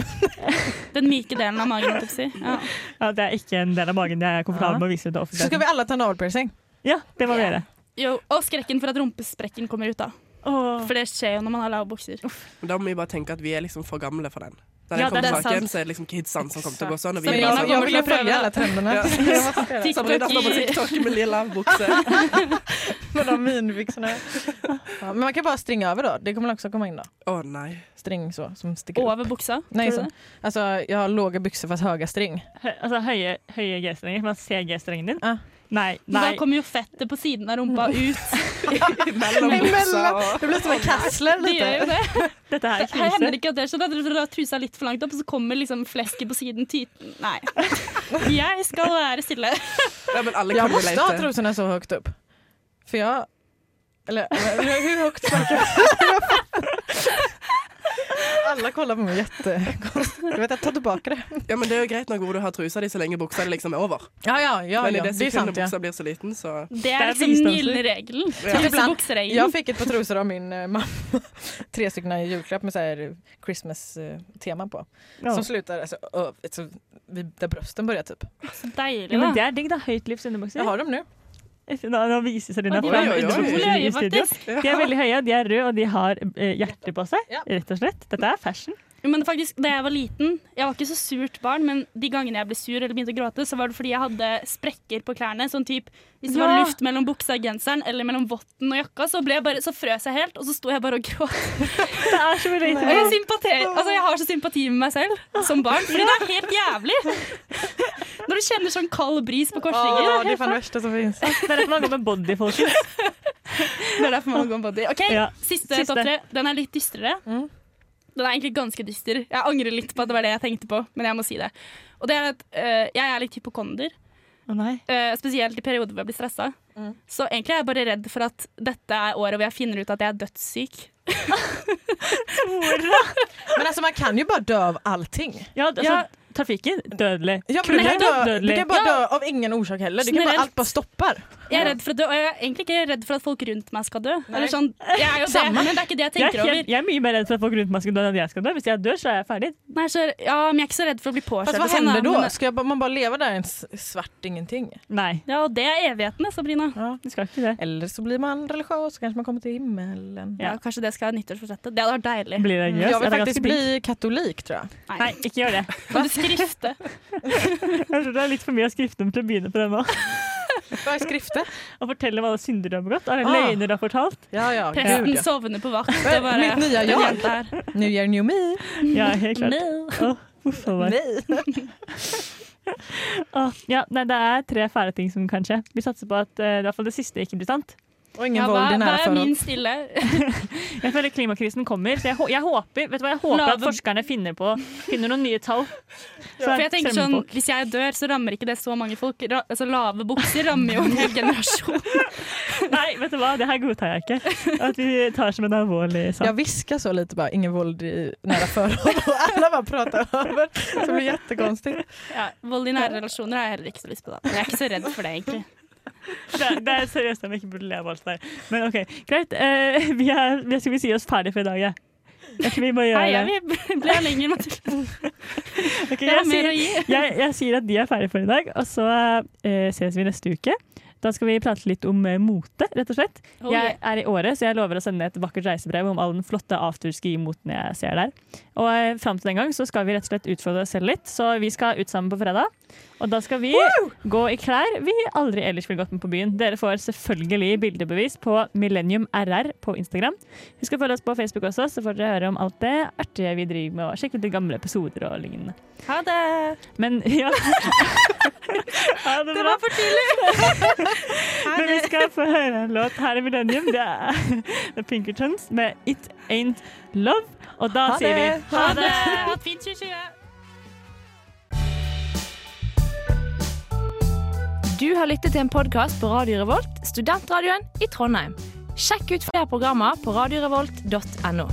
[SPEAKER 2] Den myke delen av magen. holdt jeg på å si. Ja.
[SPEAKER 3] Ja, det er ikke en del av magen jeg er
[SPEAKER 1] Ja.
[SPEAKER 3] komfortabel med å vise til
[SPEAKER 1] ja. Så ska vi
[SPEAKER 3] offentligheten.
[SPEAKER 1] alla ta navelpiercing.
[SPEAKER 3] Ja, det må vi gjøre.
[SPEAKER 2] Jo, og skrekken for at rumpesprekken kommer ut, da. For det skjer jo når man har lave bukser.
[SPEAKER 4] Men Da må vi bare tenke at vi er liksom for gamle for den. Da den
[SPEAKER 2] Ja,
[SPEAKER 4] kommer
[SPEAKER 2] det er
[SPEAKER 4] tilbake igjen,
[SPEAKER 2] sant.
[SPEAKER 4] så er det liksom kidsene som kommer til å gå sånn. og vi
[SPEAKER 1] Sabrina,
[SPEAKER 4] bare sånn-
[SPEAKER 1] jag vill ju följa alla trenderna. [LAUGHS]
[SPEAKER 4] Ja.
[SPEAKER 1] Jag måste göra det.
[SPEAKER 4] Sabrina står på TikTok med lilla bukse.
[SPEAKER 1] Med de minibyxorna. Ja, men man kan bara stringa över då. Det kommer också komma in då. [LAUGHS]
[SPEAKER 4] Åh nej.
[SPEAKER 1] String så som sticker
[SPEAKER 2] Over
[SPEAKER 1] upp.
[SPEAKER 2] buksa.
[SPEAKER 1] Nej,
[SPEAKER 2] tror du
[SPEAKER 1] så,
[SPEAKER 2] det?
[SPEAKER 1] alltså, jag har låga byxor fast höga string.
[SPEAKER 3] Hø altså, høye, høye G-strenger. Man ser G-strengen din. Nei,
[SPEAKER 2] Da
[SPEAKER 3] nei.
[SPEAKER 2] kommer jo fettet på siden av
[SPEAKER 3] [LAUGHS]
[SPEAKER 2] rumpa ut.
[SPEAKER 1] Emellan. Det blir som en kassler
[SPEAKER 2] Det gjør jo
[SPEAKER 1] lite.
[SPEAKER 2] det.
[SPEAKER 3] Dette her er
[SPEAKER 2] Her hender
[SPEAKER 3] krise.
[SPEAKER 2] det ikke at det skjer. Du drar trusa litt for langt opp, og så kommer liksom flesket på siden. Tyten. Nei. Jeg skal være stille.
[SPEAKER 4] Ja, men alle
[SPEAKER 1] Jag
[SPEAKER 4] kan
[SPEAKER 1] måste ha
[SPEAKER 4] relate.
[SPEAKER 1] trosorna så högt upp. För jag... Eller hur högt snackar [LAUGHS] jag? Alla kollar på mig jättekonstigt. Du vet, jag tar tillbaka det.
[SPEAKER 4] Ja, men det er jo greit nok hvor du har trusa di så lenge buksa di liksom er over.
[SPEAKER 1] Ja, ja, ja,
[SPEAKER 4] men i
[SPEAKER 1] ja,
[SPEAKER 4] det
[SPEAKER 1] det er sant,
[SPEAKER 4] sekundet
[SPEAKER 1] ja.
[SPEAKER 4] buksa blir så liten, så
[SPEAKER 2] Det er liksom den gylne regelen.
[SPEAKER 4] Ja.
[SPEAKER 1] Ibland-
[SPEAKER 2] Trusebukseregelen.
[SPEAKER 1] Jag fick ett par trosor av min eh, mamma. [LAUGHS] Tre stycken i julklapp med så här Christmas-tema på.
[SPEAKER 3] Ja.
[SPEAKER 1] Som altså, slutar alltså, ö, alltså, vid, där brösten börjar typ.
[SPEAKER 2] Så deilig,
[SPEAKER 3] Ja, men det
[SPEAKER 2] da.
[SPEAKER 3] er digg, da. Høyt livs underbukser.
[SPEAKER 1] Jag har dem nu.
[SPEAKER 3] Nå, nå viser Selina
[SPEAKER 2] Og de
[SPEAKER 3] fram
[SPEAKER 2] var utrolig
[SPEAKER 3] underbuksene
[SPEAKER 2] høye,
[SPEAKER 3] i studio.
[SPEAKER 2] faktisk.
[SPEAKER 3] De er veldig høye, de er røde, og de har eh, hjerte på seg.
[SPEAKER 1] Ja.
[SPEAKER 3] Rett og slett. Dette er fashion.
[SPEAKER 2] Jo, Men faktisk, da jeg var liten, jeg var ikke så surt barn, men de gangene jeg ble sur eller begynte å gråte, så var det fordi jeg hadde sprekker på klærne. Sånn typ, Hvis det var
[SPEAKER 3] Ja.
[SPEAKER 2] luft mellom buksa og genseren eller mellom votten og jakka, så, ble jeg bare, så frøs jeg helt, og så sto jeg bare og gråt.
[SPEAKER 3] Det er så
[SPEAKER 2] Og
[SPEAKER 3] relatable.
[SPEAKER 2] jeg, sympater- altså, jeg har så sympati med meg selv som barn, fordi det er helt jævlig. Når du kjenner sånn kald bris på korsryggen.
[SPEAKER 1] Åh, det är fan det värsta som finns.
[SPEAKER 3] Det er derfor man går med body focus.
[SPEAKER 2] Det er derfor man går body. Ok,
[SPEAKER 3] Ja.
[SPEAKER 2] Siste, Mm.
[SPEAKER 3] Siste.
[SPEAKER 2] topp tre. Den er litt dystrere. Den er egentlig ganske dyster. Jeg angrer litt på at det var det jeg tenkte på, men jeg må si det. Og det er at eh, jeg er litt hypokonder,
[SPEAKER 3] Å nei.
[SPEAKER 2] eh, spesielt i perioder hvor jeg blir stressa. Så egentlig er jeg bare redd for at dette er året hvor jeg finner ut at jeg er dødssyk.
[SPEAKER 1] Men alltså man kan ju bara dö av allting.
[SPEAKER 3] Ja, altså,
[SPEAKER 2] Ja.
[SPEAKER 3] trafikken, dødelig.
[SPEAKER 1] Ja, men du, kan
[SPEAKER 3] Nettopp,
[SPEAKER 1] dö, du
[SPEAKER 3] dødelig.
[SPEAKER 1] kan bara
[SPEAKER 2] Ja.
[SPEAKER 1] dö av ingen orsak heller. Du kan bara,
[SPEAKER 2] Generellt.
[SPEAKER 1] allt bara stoppar.
[SPEAKER 2] Jeg er redd for å dø, og jeg er egentlig ikke redd for at folk rundt meg skal dø. Eller sånn, jeg [LAUGHS] er jo det,
[SPEAKER 1] Samme.
[SPEAKER 2] men det er ikke det jeg
[SPEAKER 3] Jeg
[SPEAKER 2] tenker
[SPEAKER 3] er, helt,
[SPEAKER 2] over.
[SPEAKER 3] jeg er mye mer redd for at folk rundt meg skal dø enn at jeg skal dø. Hvis jeg dør, så er jeg ferdig.
[SPEAKER 2] Nei, så, ja, men jeg er ikke så redd for å bli påkjørt.
[SPEAKER 1] Fast vad
[SPEAKER 2] og sånn,
[SPEAKER 1] händer
[SPEAKER 2] da,
[SPEAKER 1] då?
[SPEAKER 2] men-
[SPEAKER 1] Ska jag bara, man bara leva där i en s- svart ingenting?
[SPEAKER 3] Nei,
[SPEAKER 2] Ja, og det er evighetene, Sabrina.
[SPEAKER 1] Ja.
[SPEAKER 3] du skal ikke det.
[SPEAKER 1] Eller så blir man religiös och kanske man kommer till himmelen. Mm.
[SPEAKER 2] Ja, kanskje det skal være nyttårsforsettet. Det hadde vært deilig.
[SPEAKER 3] Blir
[SPEAKER 1] Jag
[SPEAKER 3] det religiøs?
[SPEAKER 1] vill
[SPEAKER 3] Er det
[SPEAKER 1] faktiskt
[SPEAKER 3] ganske blid?
[SPEAKER 1] bli katolik tror jag.
[SPEAKER 2] Nei,
[SPEAKER 3] Nei, ikke gjør det.
[SPEAKER 2] [LAUGHS] kan du skrifte?
[SPEAKER 3] Jeg tror det er litt for mye av skriftene til å begynne på den nå.
[SPEAKER 1] [LAUGHS] Vad är skrifter?
[SPEAKER 3] Å fortelle om alle synder du har begått, alle
[SPEAKER 1] Ah.
[SPEAKER 3] løgner du har fortalt.
[SPEAKER 1] Ja, ja,
[SPEAKER 2] Presten
[SPEAKER 1] gud ja.
[SPEAKER 2] sovende på vakt. Det var
[SPEAKER 1] Mitt nya jag.
[SPEAKER 2] det jenta her.
[SPEAKER 1] New year, new me.
[SPEAKER 3] Ja, helt klart.
[SPEAKER 2] No.
[SPEAKER 3] Å, uff a meg.
[SPEAKER 1] Nej.
[SPEAKER 3] Åh, Ah. ja, nei, det er tre fæle ting som kan skje. Vi satser på at eh, i hvert fall det siste ikke blir sant.
[SPEAKER 1] Og ingen Ja, hva- vold i nære hva er forhold. min
[SPEAKER 2] stille?
[SPEAKER 3] jeg føler klimakrisen kommer. Så jeg, hå- jeg håper, vet du hva, jeg håper
[SPEAKER 2] Lave-
[SPEAKER 3] at forskerne finner, på, finner noen nye tall.
[SPEAKER 2] For jeg tenker sånn, Hvis jeg dør, så rammer ikke det så mange folk. Ra altså, lave bukser rammer jo en hel generasjon.
[SPEAKER 3] Nei, vet du hva, det her godtar jeg ikke. At vi tar som en alvorlig sak.
[SPEAKER 1] Jag viskar så lite bara, ingen våld i nära förhåll [LAUGHS] och alla bara pratar över. Så det blir jättekonstigt.
[SPEAKER 2] Ja, vold i nære relasjoner har jeg heller ikke så lyst på. da. Men Jeg er ikke så redd for det, egentlig.
[SPEAKER 3] Det, er- det er seriøst om jeg ikke burde le av alt det der. Men OK, greit. eh, vi er, jeg tror vi sier oss ferdig for i dag, jeg. Jeg tror vi må gjøre
[SPEAKER 2] Hei,
[SPEAKER 3] det.
[SPEAKER 2] jeg vil- ble lenger, Mathilde.
[SPEAKER 3] Ok,
[SPEAKER 2] Jeg har
[SPEAKER 3] jeg,
[SPEAKER 2] mer
[SPEAKER 3] sier,
[SPEAKER 2] å gi.
[SPEAKER 3] jeg, jeg sier at de er ferdige for i dag, og så eh, ses vi neste uke. Da skal vi prate litt om eh, mote, rett og slett.
[SPEAKER 2] Oh,
[SPEAKER 3] jeg er i året, så jeg lover å sende et vakkert reisebrev om all den flotte afterski-moten jeg ser der. Og eh, fram til den gang så skal vi rett og slett utfordre oss selv litt, så vi skal ut sammen på fredag. Og da skal vi gå i klær vi aldri ellers ville gått med på byen. Dere får selvfølgelig bildebevis på Millennium RR på Instagram. Husk å følge oss på Facebook også, så får dere høre om alt det artige vi driver med, og sjekke ut de gamle episoder og lignende.
[SPEAKER 2] Ha det!
[SPEAKER 3] Men ja. [LAUGHS] Ha det, var for tidlig! Men vi skal få høre en låt her i Millennium. Det er The Pinkertons med It Ain't Love. Og da
[SPEAKER 2] Ha
[SPEAKER 3] sier vi
[SPEAKER 2] det! Ha det! Ha et fint 2020!
[SPEAKER 13] Du har lyttet til en podkast på Radio Revolt, studentradioen i Trondheim. Sjekk ut flere programmer på radiorevolt.no.